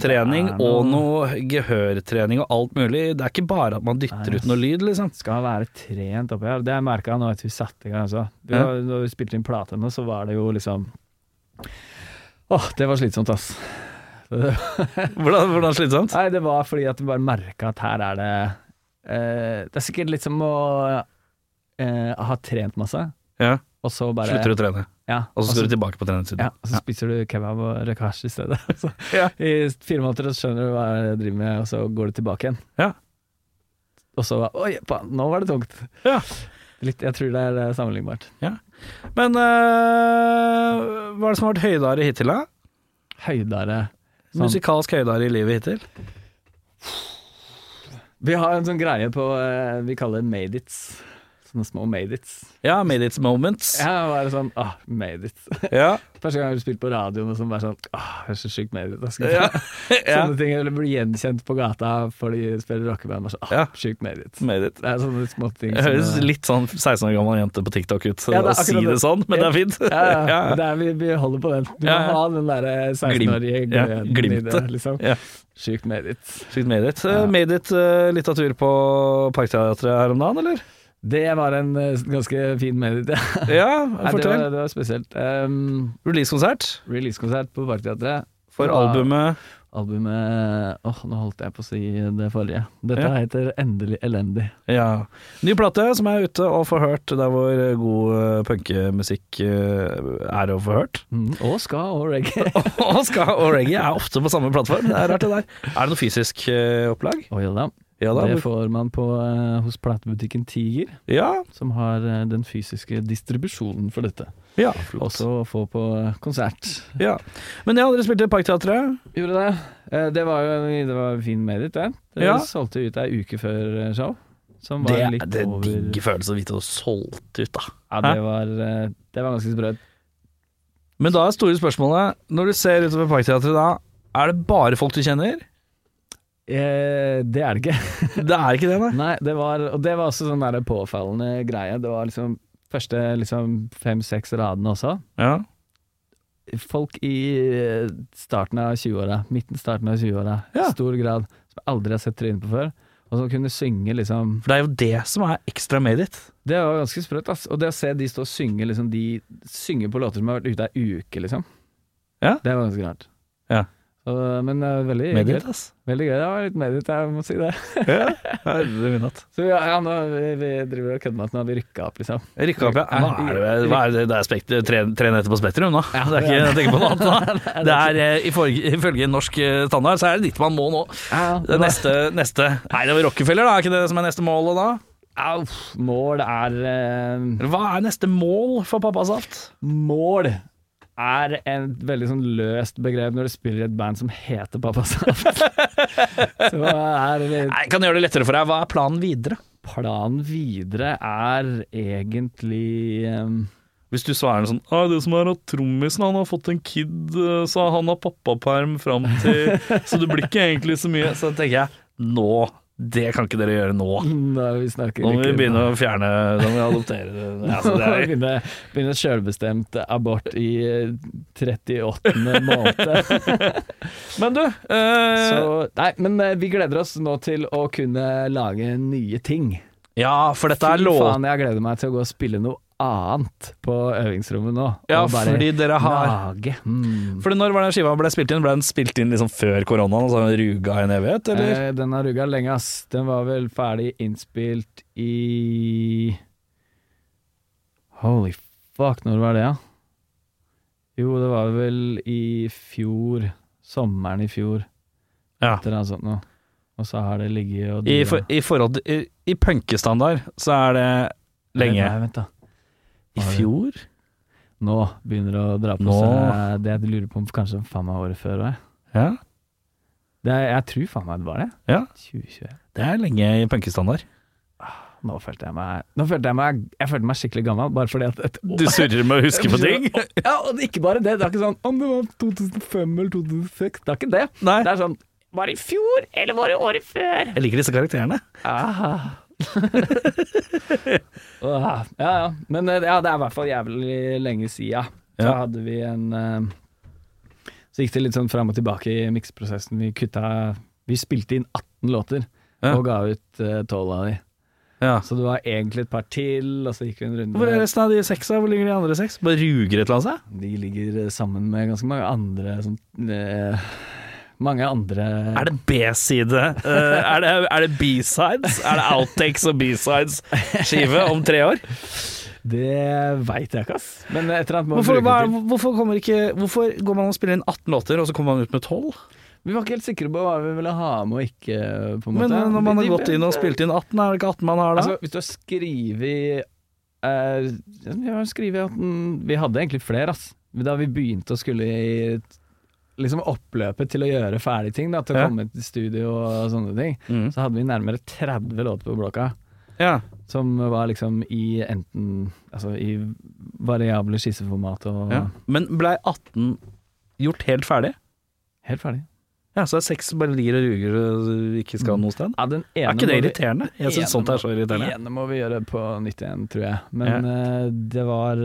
Speaker 4: Det er noe-
Speaker 3: og noe gehørtrening og alt mulig. Det er ikke bare at man dytter
Speaker 4: Nei.
Speaker 3: ut noe lyd, liksom.
Speaker 4: skal være trent oppi her. Det jeg merka nå etter vi satte i gang. Altså. Vi,
Speaker 3: Ja.
Speaker 4: har- Når vi spilte inn plate nå, så var det jo liksom Åh, det var slitsomt, ass.
Speaker 3: Hvordan, hvordan slitsomt?
Speaker 4: Nei, det var fordi at vi bare merka at her er det eh, Det er sikkert litt som å eh, ha trent masse,
Speaker 3: Ja.
Speaker 4: og så bare
Speaker 3: Slutter du å trene,
Speaker 4: Ja,
Speaker 3: og så skal
Speaker 4: og
Speaker 3: du tilbake på treningstiden.
Speaker 4: ja, og så spiser du kebab og rekash i stedet. Så,
Speaker 3: Ja.
Speaker 4: I fire måneder så skjønner du hva jeg driver med, og så går du tilbake igjen.
Speaker 3: Ja.
Speaker 4: Og så Oi, faen, nå var det tungt.
Speaker 3: Ja.
Speaker 4: Litt, jeg tror det er eh, sammenlignbart.
Speaker 3: Men øh, hva er det som har vært høydare hittil, da?
Speaker 4: høydere sånn.
Speaker 3: Musikalsk høydare i livet hittil?
Speaker 4: Vi har en sånn greie på eh, Vi kaller det made its. Sånne små made its.
Speaker 3: Ja, made its moments.
Speaker 4: Ja, bare sånn ah, made it.
Speaker 3: Ja.
Speaker 4: Første gang jeg har spilt på radioen og sånn, bare sånn ah, jeg er så sykt made it. Jeg skal
Speaker 3: Ja. ja.
Speaker 4: Sånne ting. Eller blir gjenkjent på gata fordi de spiller rockeband. Og så, ah,
Speaker 3: Ja.
Speaker 4: sykt made it.
Speaker 3: Made it.
Speaker 4: Det er sånne små ting.
Speaker 3: Jeg høres
Speaker 4: som-
Speaker 3: litt sånn 16 år gammel jente på TikTok ut
Speaker 4: Ja, det er
Speaker 3: å si
Speaker 4: akkurat
Speaker 3: det
Speaker 4: det.
Speaker 3: sånn, men det er fint.
Speaker 4: ja, ja.
Speaker 3: Ja, ja.
Speaker 4: Det er, vi, vi holder på den. Du
Speaker 3: Ja, ja.
Speaker 4: må ha den derre 16-årige
Speaker 3: Glimt. Ja,
Speaker 4: gløden i
Speaker 3: glimtet.
Speaker 4: det, liksom.
Speaker 3: Ja.
Speaker 4: Sykt made it.
Speaker 3: Slikt made it.
Speaker 4: Ja.
Speaker 3: Made it eh, litt av tur på Parkteatret her om dagen, eller?
Speaker 4: Det var en eh, ganske fin made it.
Speaker 3: Ja,
Speaker 4: Nei, det,
Speaker 3: fortell.
Speaker 4: var, det var spesielt. Um,
Speaker 3: Releasekonsert
Speaker 4: Releasekonsert på Parkteatret.
Speaker 3: for
Speaker 4: Ja.
Speaker 3: albumet
Speaker 4: Albumet Åh, nå holdt jeg på å si det forrige. Dette
Speaker 3: Ja.
Speaker 4: heter Endelig elendig.
Speaker 3: Ja. Ny plate som er ute og får hørt der hvor eh, god eh, punkemusikk eh, er å få hørt.
Speaker 4: Mm. Og ska og reggae.
Speaker 3: og ska og reggae er ofte på samme plattform. Det er rart, det der. Er det noe fysisk eh, opplag?
Speaker 4: Oh, ja, da.
Speaker 3: Ja da.
Speaker 4: det får man på, eh, hos platebutikken Tiger,
Speaker 3: Ja.
Speaker 4: som har eh, den fysiske distribusjonen for dette.
Speaker 3: ja.
Speaker 4: Også å få på eh, konsert.
Speaker 3: ja. Men ja, dere spilte Parkteatret.
Speaker 4: Gjorde det. Eh, Det var jo en, det var en fin medit, det. Dere
Speaker 3: Ja.
Speaker 4: solgte ut ei uke før eh, show. Som
Speaker 3: Det
Speaker 4: var
Speaker 3: er
Speaker 4: litt
Speaker 3: det er en
Speaker 4: over
Speaker 3: digg følelse å vite å solgt ut, da.
Speaker 4: Ja,
Speaker 3: Hæ?
Speaker 4: det var, eh, det var ganske sprøtt.
Speaker 3: Men da er store spørsmålet, når du ser utover Parkteatret da, er det bare folk du kjenner?
Speaker 4: Eh, det er det ikke.
Speaker 3: Det er ikke det, nei.
Speaker 4: Nei, det var, og det var også sånn der påfallende greie. Det var liksom første liksom fem-seks radene også.
Speaker 3: Ja.
Speaker 4: Folk i eh, starten av 20-åra, midten starten av 20-åra,
Speaker 3: Ja.
Speaker 4: stor grad, som jeg aldri har sett trynet på før, og som kunne synge liksom
Speaker 3: For det er jo det som er ekstra made it.
Speaker 4: Det var ganske sprøtt, ass. Og det å se de stå og synge, liksom, de synger på låter som har vært ute ei uke, liksom.
Speaker 3: Ja.
Speaker 4: Det var ganske rart.
Speaker 3: Ja.
Speaker 4: Så, men eh, veldig
Speaker 3: Made
Speaker 4: gøy.
Speaker 3: it, ass.
Speaker 4: Veldig gøy. Det var litt medit, jeg må si det.
Speaker 3: Ja, herre min hatt.
Speaker 4: Så ja, ja, nå, vi, vi driver og kødder med at nå har vi rykka opp, liksom.
Speaker 3: Rykka opp, ja. Nå er det, hva er det, det er spekt, tre, tre netter på Spektrum nå.
Speaker 4: Ja,
Speaker 3: det er ikke, jeg tenker på noe annet da. Det er, eh, ifølge, ifølge norsk eh, standard, så er det dit man må nå.
Speaker 4: Ja,
Speaker 3: Det er neste, neste. Nei, det var Rockefeller da, er ikke det som er neste målet da?
Speaker 4: Au, pff, mål er eh,
Speaker 3: Hva er neste mål for Pappasaft?
Speaker 4: Mål er en veldig sånn løst begrep når du spiller i et band som heter Pappa Saft. Så er det
Speaker 3: Nei, kan jeg gjøre det lettere for deg? Hva er planen videre?
Speaker 4: Planen videre er egentlig eh,
Speaker 5: Hvis du svarer noe sånn ah, 'Det som er at trommisen han har fått en kid, eh, så han har pappaperm fram til Så det blir ikke egentlig så mye.
Speaker 3: Så tenker jeg, nå, det kan ikke dere gjøre nå.
Speaker 4: Nå vi snakker
Speaker 3: Nå må vi
Speaker 4: ikke-
Speaker 3: begynne å fjerne, da må vi adoptere det. Ja, så
Speaker 4: Nå
Speaker 3: det
Speaker 4: må vi
Speaker 3: er,
Speaker 4: begynne, begynne selvbestemt abort i eh, 38. måned.
Speaker 3: men du, eh,
Speaker 4: Så, nei, men eh, vi gleder oss nå til å kunne lage nye ting.
Speaker 3: ja, for dette er
Speaker 4: Fy
Speaker 3: låt.
Speaker 4: faen, jeg gleder meg til å gå og spille noe annet på øvingsrommet nå.
Speaker 3: Ja,
Speaker 4: og bare
Speaker 3: fordi dere har
Speaker 4: lage. Mm.
Speaker 3: Fordi når var den skiva ble spilt inn? Ble den spilt inn liksom før koronaen, og så har den ruga i en evighet, eller?
Speaker 4: Eh, den har rugga lenge, ass. Den var vel ferdig innspilt i Holy fuck, når var det, ja? Jo, det var vel i fjor. Sommeren i fjor.
Speaker 3: Ja.
Speaker 4: Et eller annet sånt noe. Og så har det ligget og
Speaker 3: I,
Speaker 4: dura.
Speaker 3: for, i forhold til I, i punkestandard så er det lenge.
Speaker 4: Nei, vent, da.
Speaker 3: I fjor?
Speaker 4: Nå begynner det å dra på
Speaker 3: Nå.
Speaker 4: seg det jeg lurer på om kanskje faen meg året før òg, jeg.
Speaker 3: Ja.
Speaker 4: Det er- Jeg tror faen meg det var det.
Speaker 3: Ja.
Speaker 4: 2021.
Speaker 3: Det er lenge i punkestandard.
Speaker 4: Nå følte jeg meg Nå følte jeg meg Jeg følte meg skikkelig gammel, bare fordi at et
Speaker 3: Du surrer med å huske på ting?
Speaker 4: Ja, og det er ikke bare det. Det er ikke sånn om det var 2005 eller 2006. Det er ikke det.
Speaker 3: Nei.
Speaker 4: Det er sånn Var det i fjor, eller var det året før?
Speaker 3: Jeg liker disse karakterene.
Speaker 4: Ah. Ah, ja, ja. Men eh, ja, det er i hvert fall jævlig lenge sia. Så
Speaker 3: Ja.
Speaker 4: hadde vi en eh, Så gikk det litt sånn fram og tilbake i mikseprosessen. Vi kutta Vi spilte inn 18 låter
Speaker 3: Ja.
Speaker 4: og ga ut eh, 12 av de.
Speaker 3: Ja.
Speaker 4: Så det var egentlig et par til, og så gikk vi en runde.
Speaker 3: Hvor er resten av de seks? da? Hvor ligger de andre seks? Bare ruger et eller annet seg?
Speaker 4: De ligger eh, sammen med ganske mange andre sånn, eh, Mange andre
Speaker 3: Er det B-side? Eh, er det, er det B-sides? Er det outtakes og B-sides-skive om tre år?
Speaker 4: Det veit jeg ikke, ass. Men et eller annet må vi
Speaker 3: Hvorfor,
Speaker 4: bruke
Speaker 3: hva,
Speaker 4: det til.
Speaker 3: hvorfor, kommer ikke, hvorfor går man og spiller inn 18 låter, og så kommer man ut med 12?
Speaker 4: Vi var ikke helt sikre på hva vi ville ha med og ikke, på en
Speaker 3: Men
Speaker 4: måte.
Speaker 3: eh, når man
Speaker 4: De-
Speaker 3: har
Speaker 4: de-
Speaker 3: gått inn og spilt inn 18, er det ikke 18 man har da?
Speaker 4: Altså, hvis du har skrevet eh, ja, Vi har skrevet at den- Vi hadde egentlig flere, ass. Da vi begynte å skulle i liksom oppløpet til å gjøre ferdig ting, da, til å
Speaker 3: Ja.
Speaker 4: komme til studio og sånne ting,
Speaker 3: Mm.
Speaker 4: så hadde vi nærmere 30 låter på blokka.
Speaker 3: Ja.
Speaker 4: Som var liksom i enten Altså i variable skisseformat og
Speaker 3: ja. Men blei 18 gjort helt ferdig?
Speaker 4: Helt ferdig.
Speaker 3: Ja, Så det er seks melodier og ruger du ikke skal noe sted?
Speaker 4: Ja, den ene
Speaker 3: Er ikke
Speaker 4: må
Speaker 3: det
Speaker 4: vi-
Speaker 3: irriterende? Jeg syns sånt er så irriterende.
Speaker 4: Den ene må vi gjøre på nytt igjen, tror jeg. Men eh, det var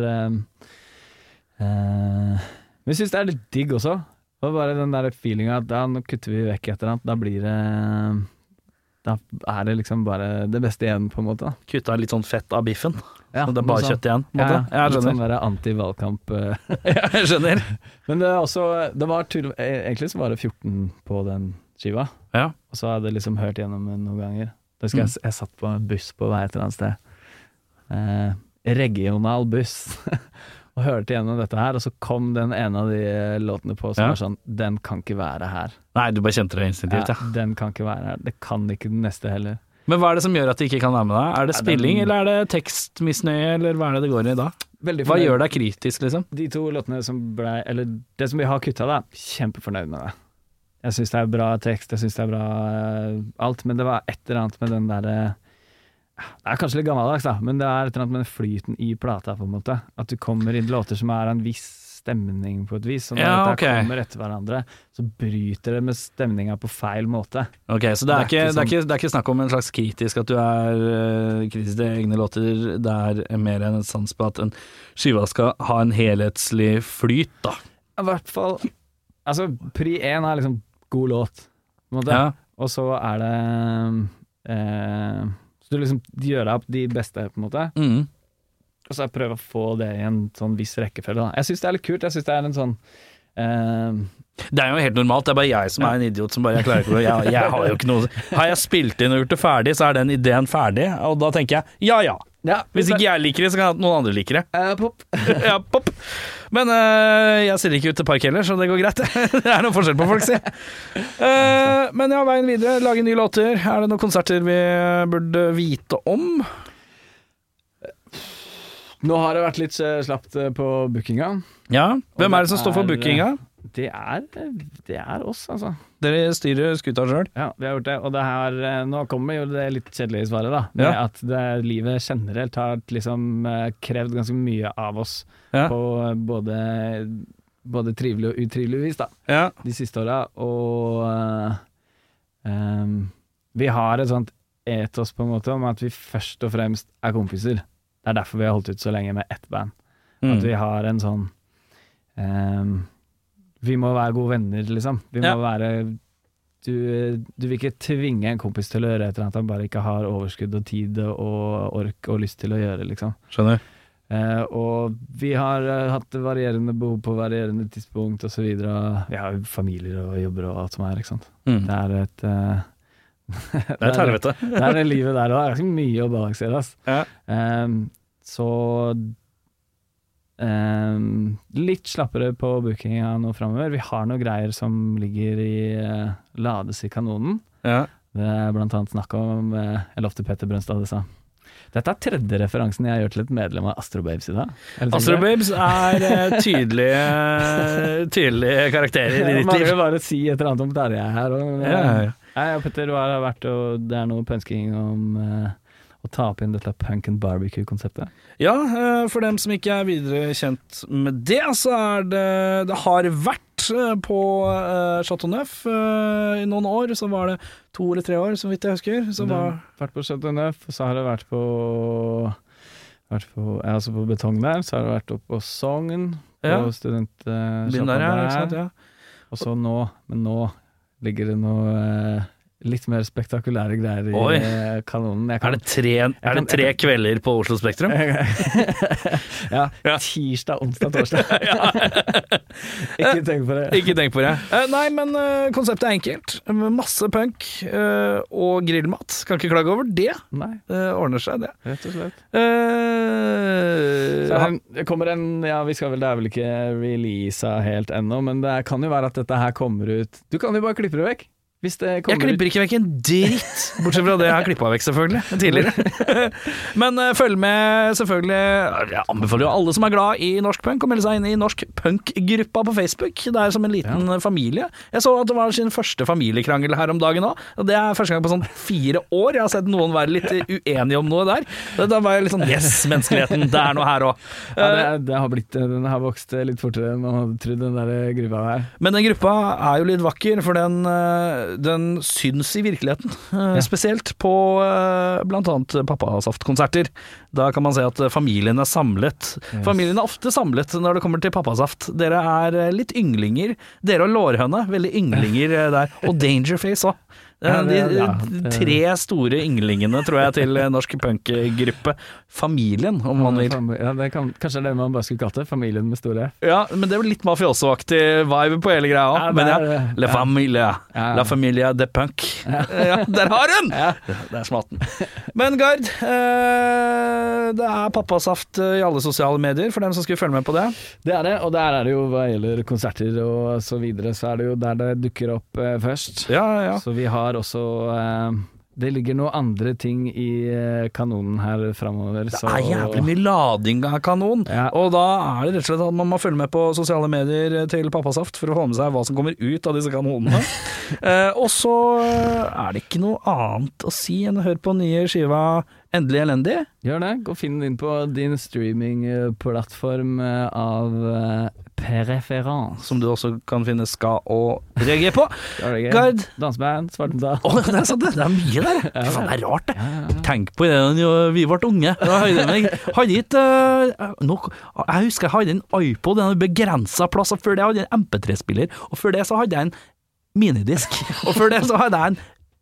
Speaker 4: eh, eh, Men jeg syns det er litt digg også. Det var bare den der feelinga at da nå kutter vi vekk et eller annet. Da blir det Da er det liksom bare det beste igjen, på en måte. da.
Speaker 3: Kutta litt sånn fett av biffen.
Speaker 4: Ja,
Speaker 3: og det er bare kjøtt igjen. På en måte. Ja, jeg
Speaker 4: litt
Speaker 3: skjønner.
Speaker 4: sånn der anti-valgkamp. eh.
Speaker 3: jeg skjønner.
Speaker 4: Men det er også det var tydelig, Egentlig så var det 14 på den skiva.
Speaker 3: Ja.
Speaker 4: Og så hadde jeg liksom hørt gjennom den noen ganger. Da husker
Speaker 3: Mm.
Speaker 4: jeg, jeg satt på en buss på vei et eller annet sted. Eh, regional buss. og hørte gjennom dette her, og så kom den ene av de eh, låtene på som
Speaker 3: Ja.
Speaker 4: var sånn Den kan ikke være her.
Speaker 3: Nei, du bare kjente det instinktivt, ja.
Speaker 4: Ja, den kan ikke være her. Det kan ikke den neste heller.
Speaker 3: Men hva er det som gjør at de ikke kan være med deg? Er det
Speaker 4: Nei, den-
Speaker 3: spilling, eller er det tekstmisnøye, eller hva er det det går i da?
Speaker 4: Veldig
Speaker 3: Hva gjør deg kritisk, liksom?
Speaker 4: De to låtene som blei Eller det som vi har kutta, da. Kjempefornøyd med det. Jeg syns det er bra tekst, jeg syns det er bra eh, alt, men det var et eller annet med den derre Det er kanskje litt gammeldags, da, men det er et eller annet med den flyten i plata, på en måte. At du kommer inn låter som er en viss stemning, på et vis. Så når
Speaker 3: Ja,
Speaker 4: dette
Speaker 3: ok.
Speaker 4: kommer etter hverandre, så bryter det med stemninga på feil måte.
Speaker 3: Ok, Så det er, ikke, det, er
Speaker 4: sånn-
Speaker 3: ikke, det er ikke snakk om en slags kritisk at du er eh, kritisk til egne låter, det er mer enn en sans på at en skiva skal ha en helhetslig flyt, da.
Speaker 4: I hvert fall Altså, pri én er liksom god låt, på en måte.
Speaker 3: Ja.
Speaker 4: Og så er det eh, Så du liksom gjør deg opp de beste, på en måte.
Speaker 3: Mm.
Speaker 4: Og så prøve å få det i en sånn viss rekkefølge. Da. Jeg syns det er litt kult. Jeg syns det er en sånn eh,
Speaker 3: Det er jo helt normalt, det er bare jeg som er en idiot som bare jeg klarer ikke å jeg, jeg har jo ikke noe Har jeg spilt inn og gjort det ferdig, så er den ideen ferdig, og da tenker jeg ja ja.
Speaker 4: Ja,
Speaker 3: Hvis ikke jeg liker det, så kan noen andre like det.
Speaker 4: eh, pop.
Speaker 3: ja, pop. Men øh, jeg stiller ikke ut til park heller, så det går greit. det er noe forskjell på folk, si. Eh, men ja, veien videre. Lage nye låter. Er det noen konserter vi burde vite om?
Speaker 4: Nå har det vært litt eh, slapt eh, på bookinga.
Speaker 3: Ja. Hvem er det som står for
Speaker 4: Og det er- eh,
Speaker 3: bookinga?
Speaker 4: Det er, det er oss, altså.
Speaker 3: Dere styrer skuta sjøl.
Speaker 4: Ja, vi har gjort det. Og det her eh, Nå kommer jo det litt kjedelige svaret, da. Med
Speaker 3: Ja.
Speaker 4: at det, livet generelt har liksom eh, krevd ganske mye av oss.
Speaker 3: Ja.
Speaker 4: På eh, både, både trivelig og utrivelig vis, da.
Speaker 3: Ja.
Speaker 4: de siste åra, og eh, em, vi har et sånt etos på en måte om at vi først og fremst er kompiser. Det er derfor vi har holdt ut så lenge med ett band.
Speaker 3: Mm.
Speaker 4: At vi har en sånn em, Vi må være gode venner, liksom. Vi må
Speaker 3: Ja.
Speaker 4: være du, du vil ikke tvinge en kompis til å gjøre et eller annet han bare ikke har overskudd og tid og ork og lyst til å gjøre, liksom.
Speaker 3: Skjønner.
Speaker 4: Eh, og vi har eh, hatt varierende behov på varierende tidspunkt osv. Vi har jo familier og jobber og alt som er, ikke sant.
Speaker 3: Mm.
Speaker 4: Det er et eh,
Speaker 3: Det er et helvete.
Speaker 4: Det er det livet der òg. Det er ganske mye å balansere, ass.
Speaker 3: Ja.
Speaker 4: Ehm, så ehm, litt slappere på bookinga nå framover. Vi har noen greier som ligger i eh, lades i kanonen.
Speaker 3: Ja.
Speaker 4: Det er blant annet snakk om eh, Jeg lovte Petter Brønstad det sa. Dette er tredje referansen jeg gjør til et medlem av Astro Babes i dag. Er det
Speaker 3: Astro
Speaker 4: tenkt det?
Speaker 3: Babes er eh, tydelige, eh, tydelige karakterer i
Speaker 4: Jeg
Speaker 3: ditt liv.
Speaker 4: mangler bare å si et eller annet om Terje her. Og,
Speaker 3: Ja, ja, ja.
Speaker 4: Jeg og Petter har vært og det er noe pønsking om eh, å ta opp inn dette punk and barbecue-konseptet.
Speaker 3: Ja, eh, for dem som ikke er videre kjent med det, så er det Det har vært eh, på eh, Chateau Neuf eh, i noen år, så var det to eller tre år, så vidt jeg husker. Så
Speaker 4: Det
Speaker 3: var,
Speaker 4: har Vært på Chateau Neuf, og så har det vært på vært på, ja, altså på Betong der, så har det vært oppe på Sogn, på
Speaker 3: Ja.
Speaker 4: studentsjappa
Speaker 3: Begynn der, ja. Ikke
Speaker 4: der,
Speaker 3: sant? Ja.
Speaker 4: og så nå, men nå ligger det noe eh, litt mer spektakulære greier i
Speaker 3: Oi.
Speaker 4: eh, kanonen. Jeg
Speaker 3: Er
Speaker 4: kan,
Speaker 3: det tre, er det tre kvelder på Oslo Spektrum?
Speaker 4: ja,
Speaker 3: Ja.
Speaker 4: tirsdag, onsdag, torsdag. Ikke tenk på det.
Speaker 3: Ikke tenk på det. Eh, nei, men eh, konseptet er enkelt. Med Masse punk eh, og grillmat. Kan ikke klage over det.
Speaker 4: Nei,
Speaker 3: Eh, ordner seg, det.
Speaker 4: rett og slett.
Speaker 3: Eh,
Speaker 4: Så her- det kommer en Ja, vi skal vel, det er vel ikke releasa helt ennå, men det kan jo være at dette her kommer ut Du kan jo bare klippe det vekk. Hvis det
Speaker 3: Jeg
Speaker 4: kommer
Speaker 3: klipper
Speaker 4: ut
Speaker 3: ikke vekk en dritt, bortsett fra det jeg har klippa vekk, selvfølgelig. Tidligere. Men eh, følg med, selvfølgelig. Jeg anbefaler jo alle som er glad i norsk punk, å melde seg inn i norsk punk-gruppa på Facebook. Det er som en liten eh, familie. Jeg så at det var sin første familiekrangel her om dagen òg. Det er første gang på sånn fire år jeg har sett noen være litt eh, uenige om noe der. Da var jeg litt sånn Yes, menneskeligheten, det er noe her òg.
Speaker 4: ja, det,
Speaker 3: Eh.
Speaker 4: er- det har blitt, eh, Den har vokst litt fortere enn man hadde trodd, den der gruva der.
Speaker 3: Men den gruppa er jo litt vakker, for den, eh, den syns i virkeligheten. Eh, Spesielt på eh, blant annet pappasaftkonserter. Da kan man se at eh, familien er samlet. Familien er ofte samlet når det kommer til pappasaft. Dere er eh, litt ynglinger. Dere og Lårhøne, veldig ynglinger eh, der. Og Dangerface òg.
Speaker 4: Ja,
Speaker 3: De
Speaker 4: det- ja,
Speaker 3: de
Speaker 4: det-
Speaker 3: tre store ynglingene, tror jeg, til eh, norsk punkgruppe. Familien, om man vil.
Speaker 4: Ja, det kan, kanskje det er det man bare skulle kalt det. Familien med store F.
Speaker 3: Ja, men det er jo litt mafiosoaktig vibe på hele greia òg.
Speaker 4: Ja, det
Speaker 3: men ja,
Speaker 4: er det.
Speaker 3: La
Speaker 4: Ja.
Speaker 3: Familia.
Speaker 4: Ja.
Speaker 3: La Familia de Punk. Ja. der har hun! Der smalt den. Men Gard, eh, det er pappasaft eh, i alle sosiale medier, for dem som skulle følge med på det.
Speaker 4: Det er det, og der er det jo hva gjelder konserter og så videre, så er det jo der det dukker opp eh, først.
Speaker 3: Ja, ja.
Speaker 4: Så vi har også eh, Det ligger noen andre ting i eh, kanonen her framover.
Speaker 3: Det er jævlig mye lading av kanon,
Speaker 4: Ja.
Speaker 3: og da er det rett og slett at man må følge med på sosiale medier eh, til Pappasaft for å få med seg hva som kommer ut av disse kanonene. eh, og så eh, er det ikke noe annet å si enn å høre på nye skiva Endelig elendig.
Speaker 4: Gjør det. Gå og finn den inn på din streamingplattform eh, av eh, preferance.
Speaker 3: som du også kan finne ska og reggae på.
Speaker 4: Er det gøy?
Speaker 3: Gard.
Speaker 4: Danseband, Svartmedal.
Speaker 3: Å, det er sant, det. Det er mye der. Fy faen, det er rart, det.
Speaker 4: Ja, ja, ja.
Speaker 3: Tenk på det da vi ble unge. Da hadde vi- jeg hadde ikke eh, nok- Jeg husker jeg hadde en iPod, en begrensa plass, og før det hadde jeg en MP3-spiller. Og før det så hadde jeg en minidisk. Og før det så hadde jeg en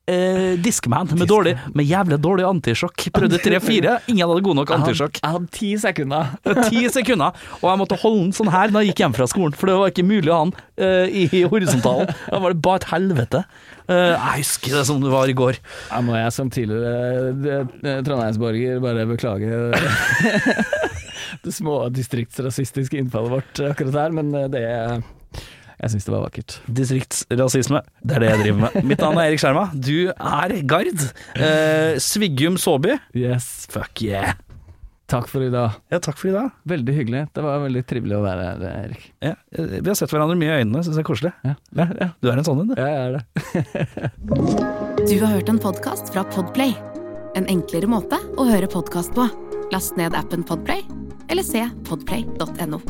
Speaker 3: eh, Discman med, dårlig, med jævlig dårlig antisjokk. Prøvde tre-fire, ingen hadde god nok antisjokk.
Speaker 4: Jeg hadde ti sekunder.
Speaker 3: Ti sekunder, og jeg måtte holde den sånn her da jeg gikk hjem fra skolen, for det var ikke mulig å ha den eh, i horisontalen. Da var det bare et helvete. Eh, jeg husker det som det var i går.
Speaker 4: Her må jeg som tidligere eh, eh, trondheimsborger bare beklage det små distriktsrasistiske innfallet vårt akkurat der, men eh, det Jeg syns det var vakkert.
Speaker 3: Distriktsrasisme, det er det jeg driver med. Mitt navn er Erik Skjerma, du er Gard. Eh, Sviggum Saabye.
Speaker 4: Yes.
Speaker 3: Fuck yeah.
Speaker 4: Takk for i dag.
Speaker 3: Ja, takk for i dag.
Speaker 4: Veldig hyggelig. Det var veldig trivelig å være her, Erik.
Speaker 3: Ja, eh, vi har sett hverandre mye i øynene, syns det er koselig.
Speaker 4: Ja.
Speaker 3: Du er en sånn en, du.
Speaker 4: Jeg er det.
Speaker 1: Du har hørt en podkast fra Podplay. En enklere måte å høre podkast på. Last ned appen Podplay, eller se podplay.no.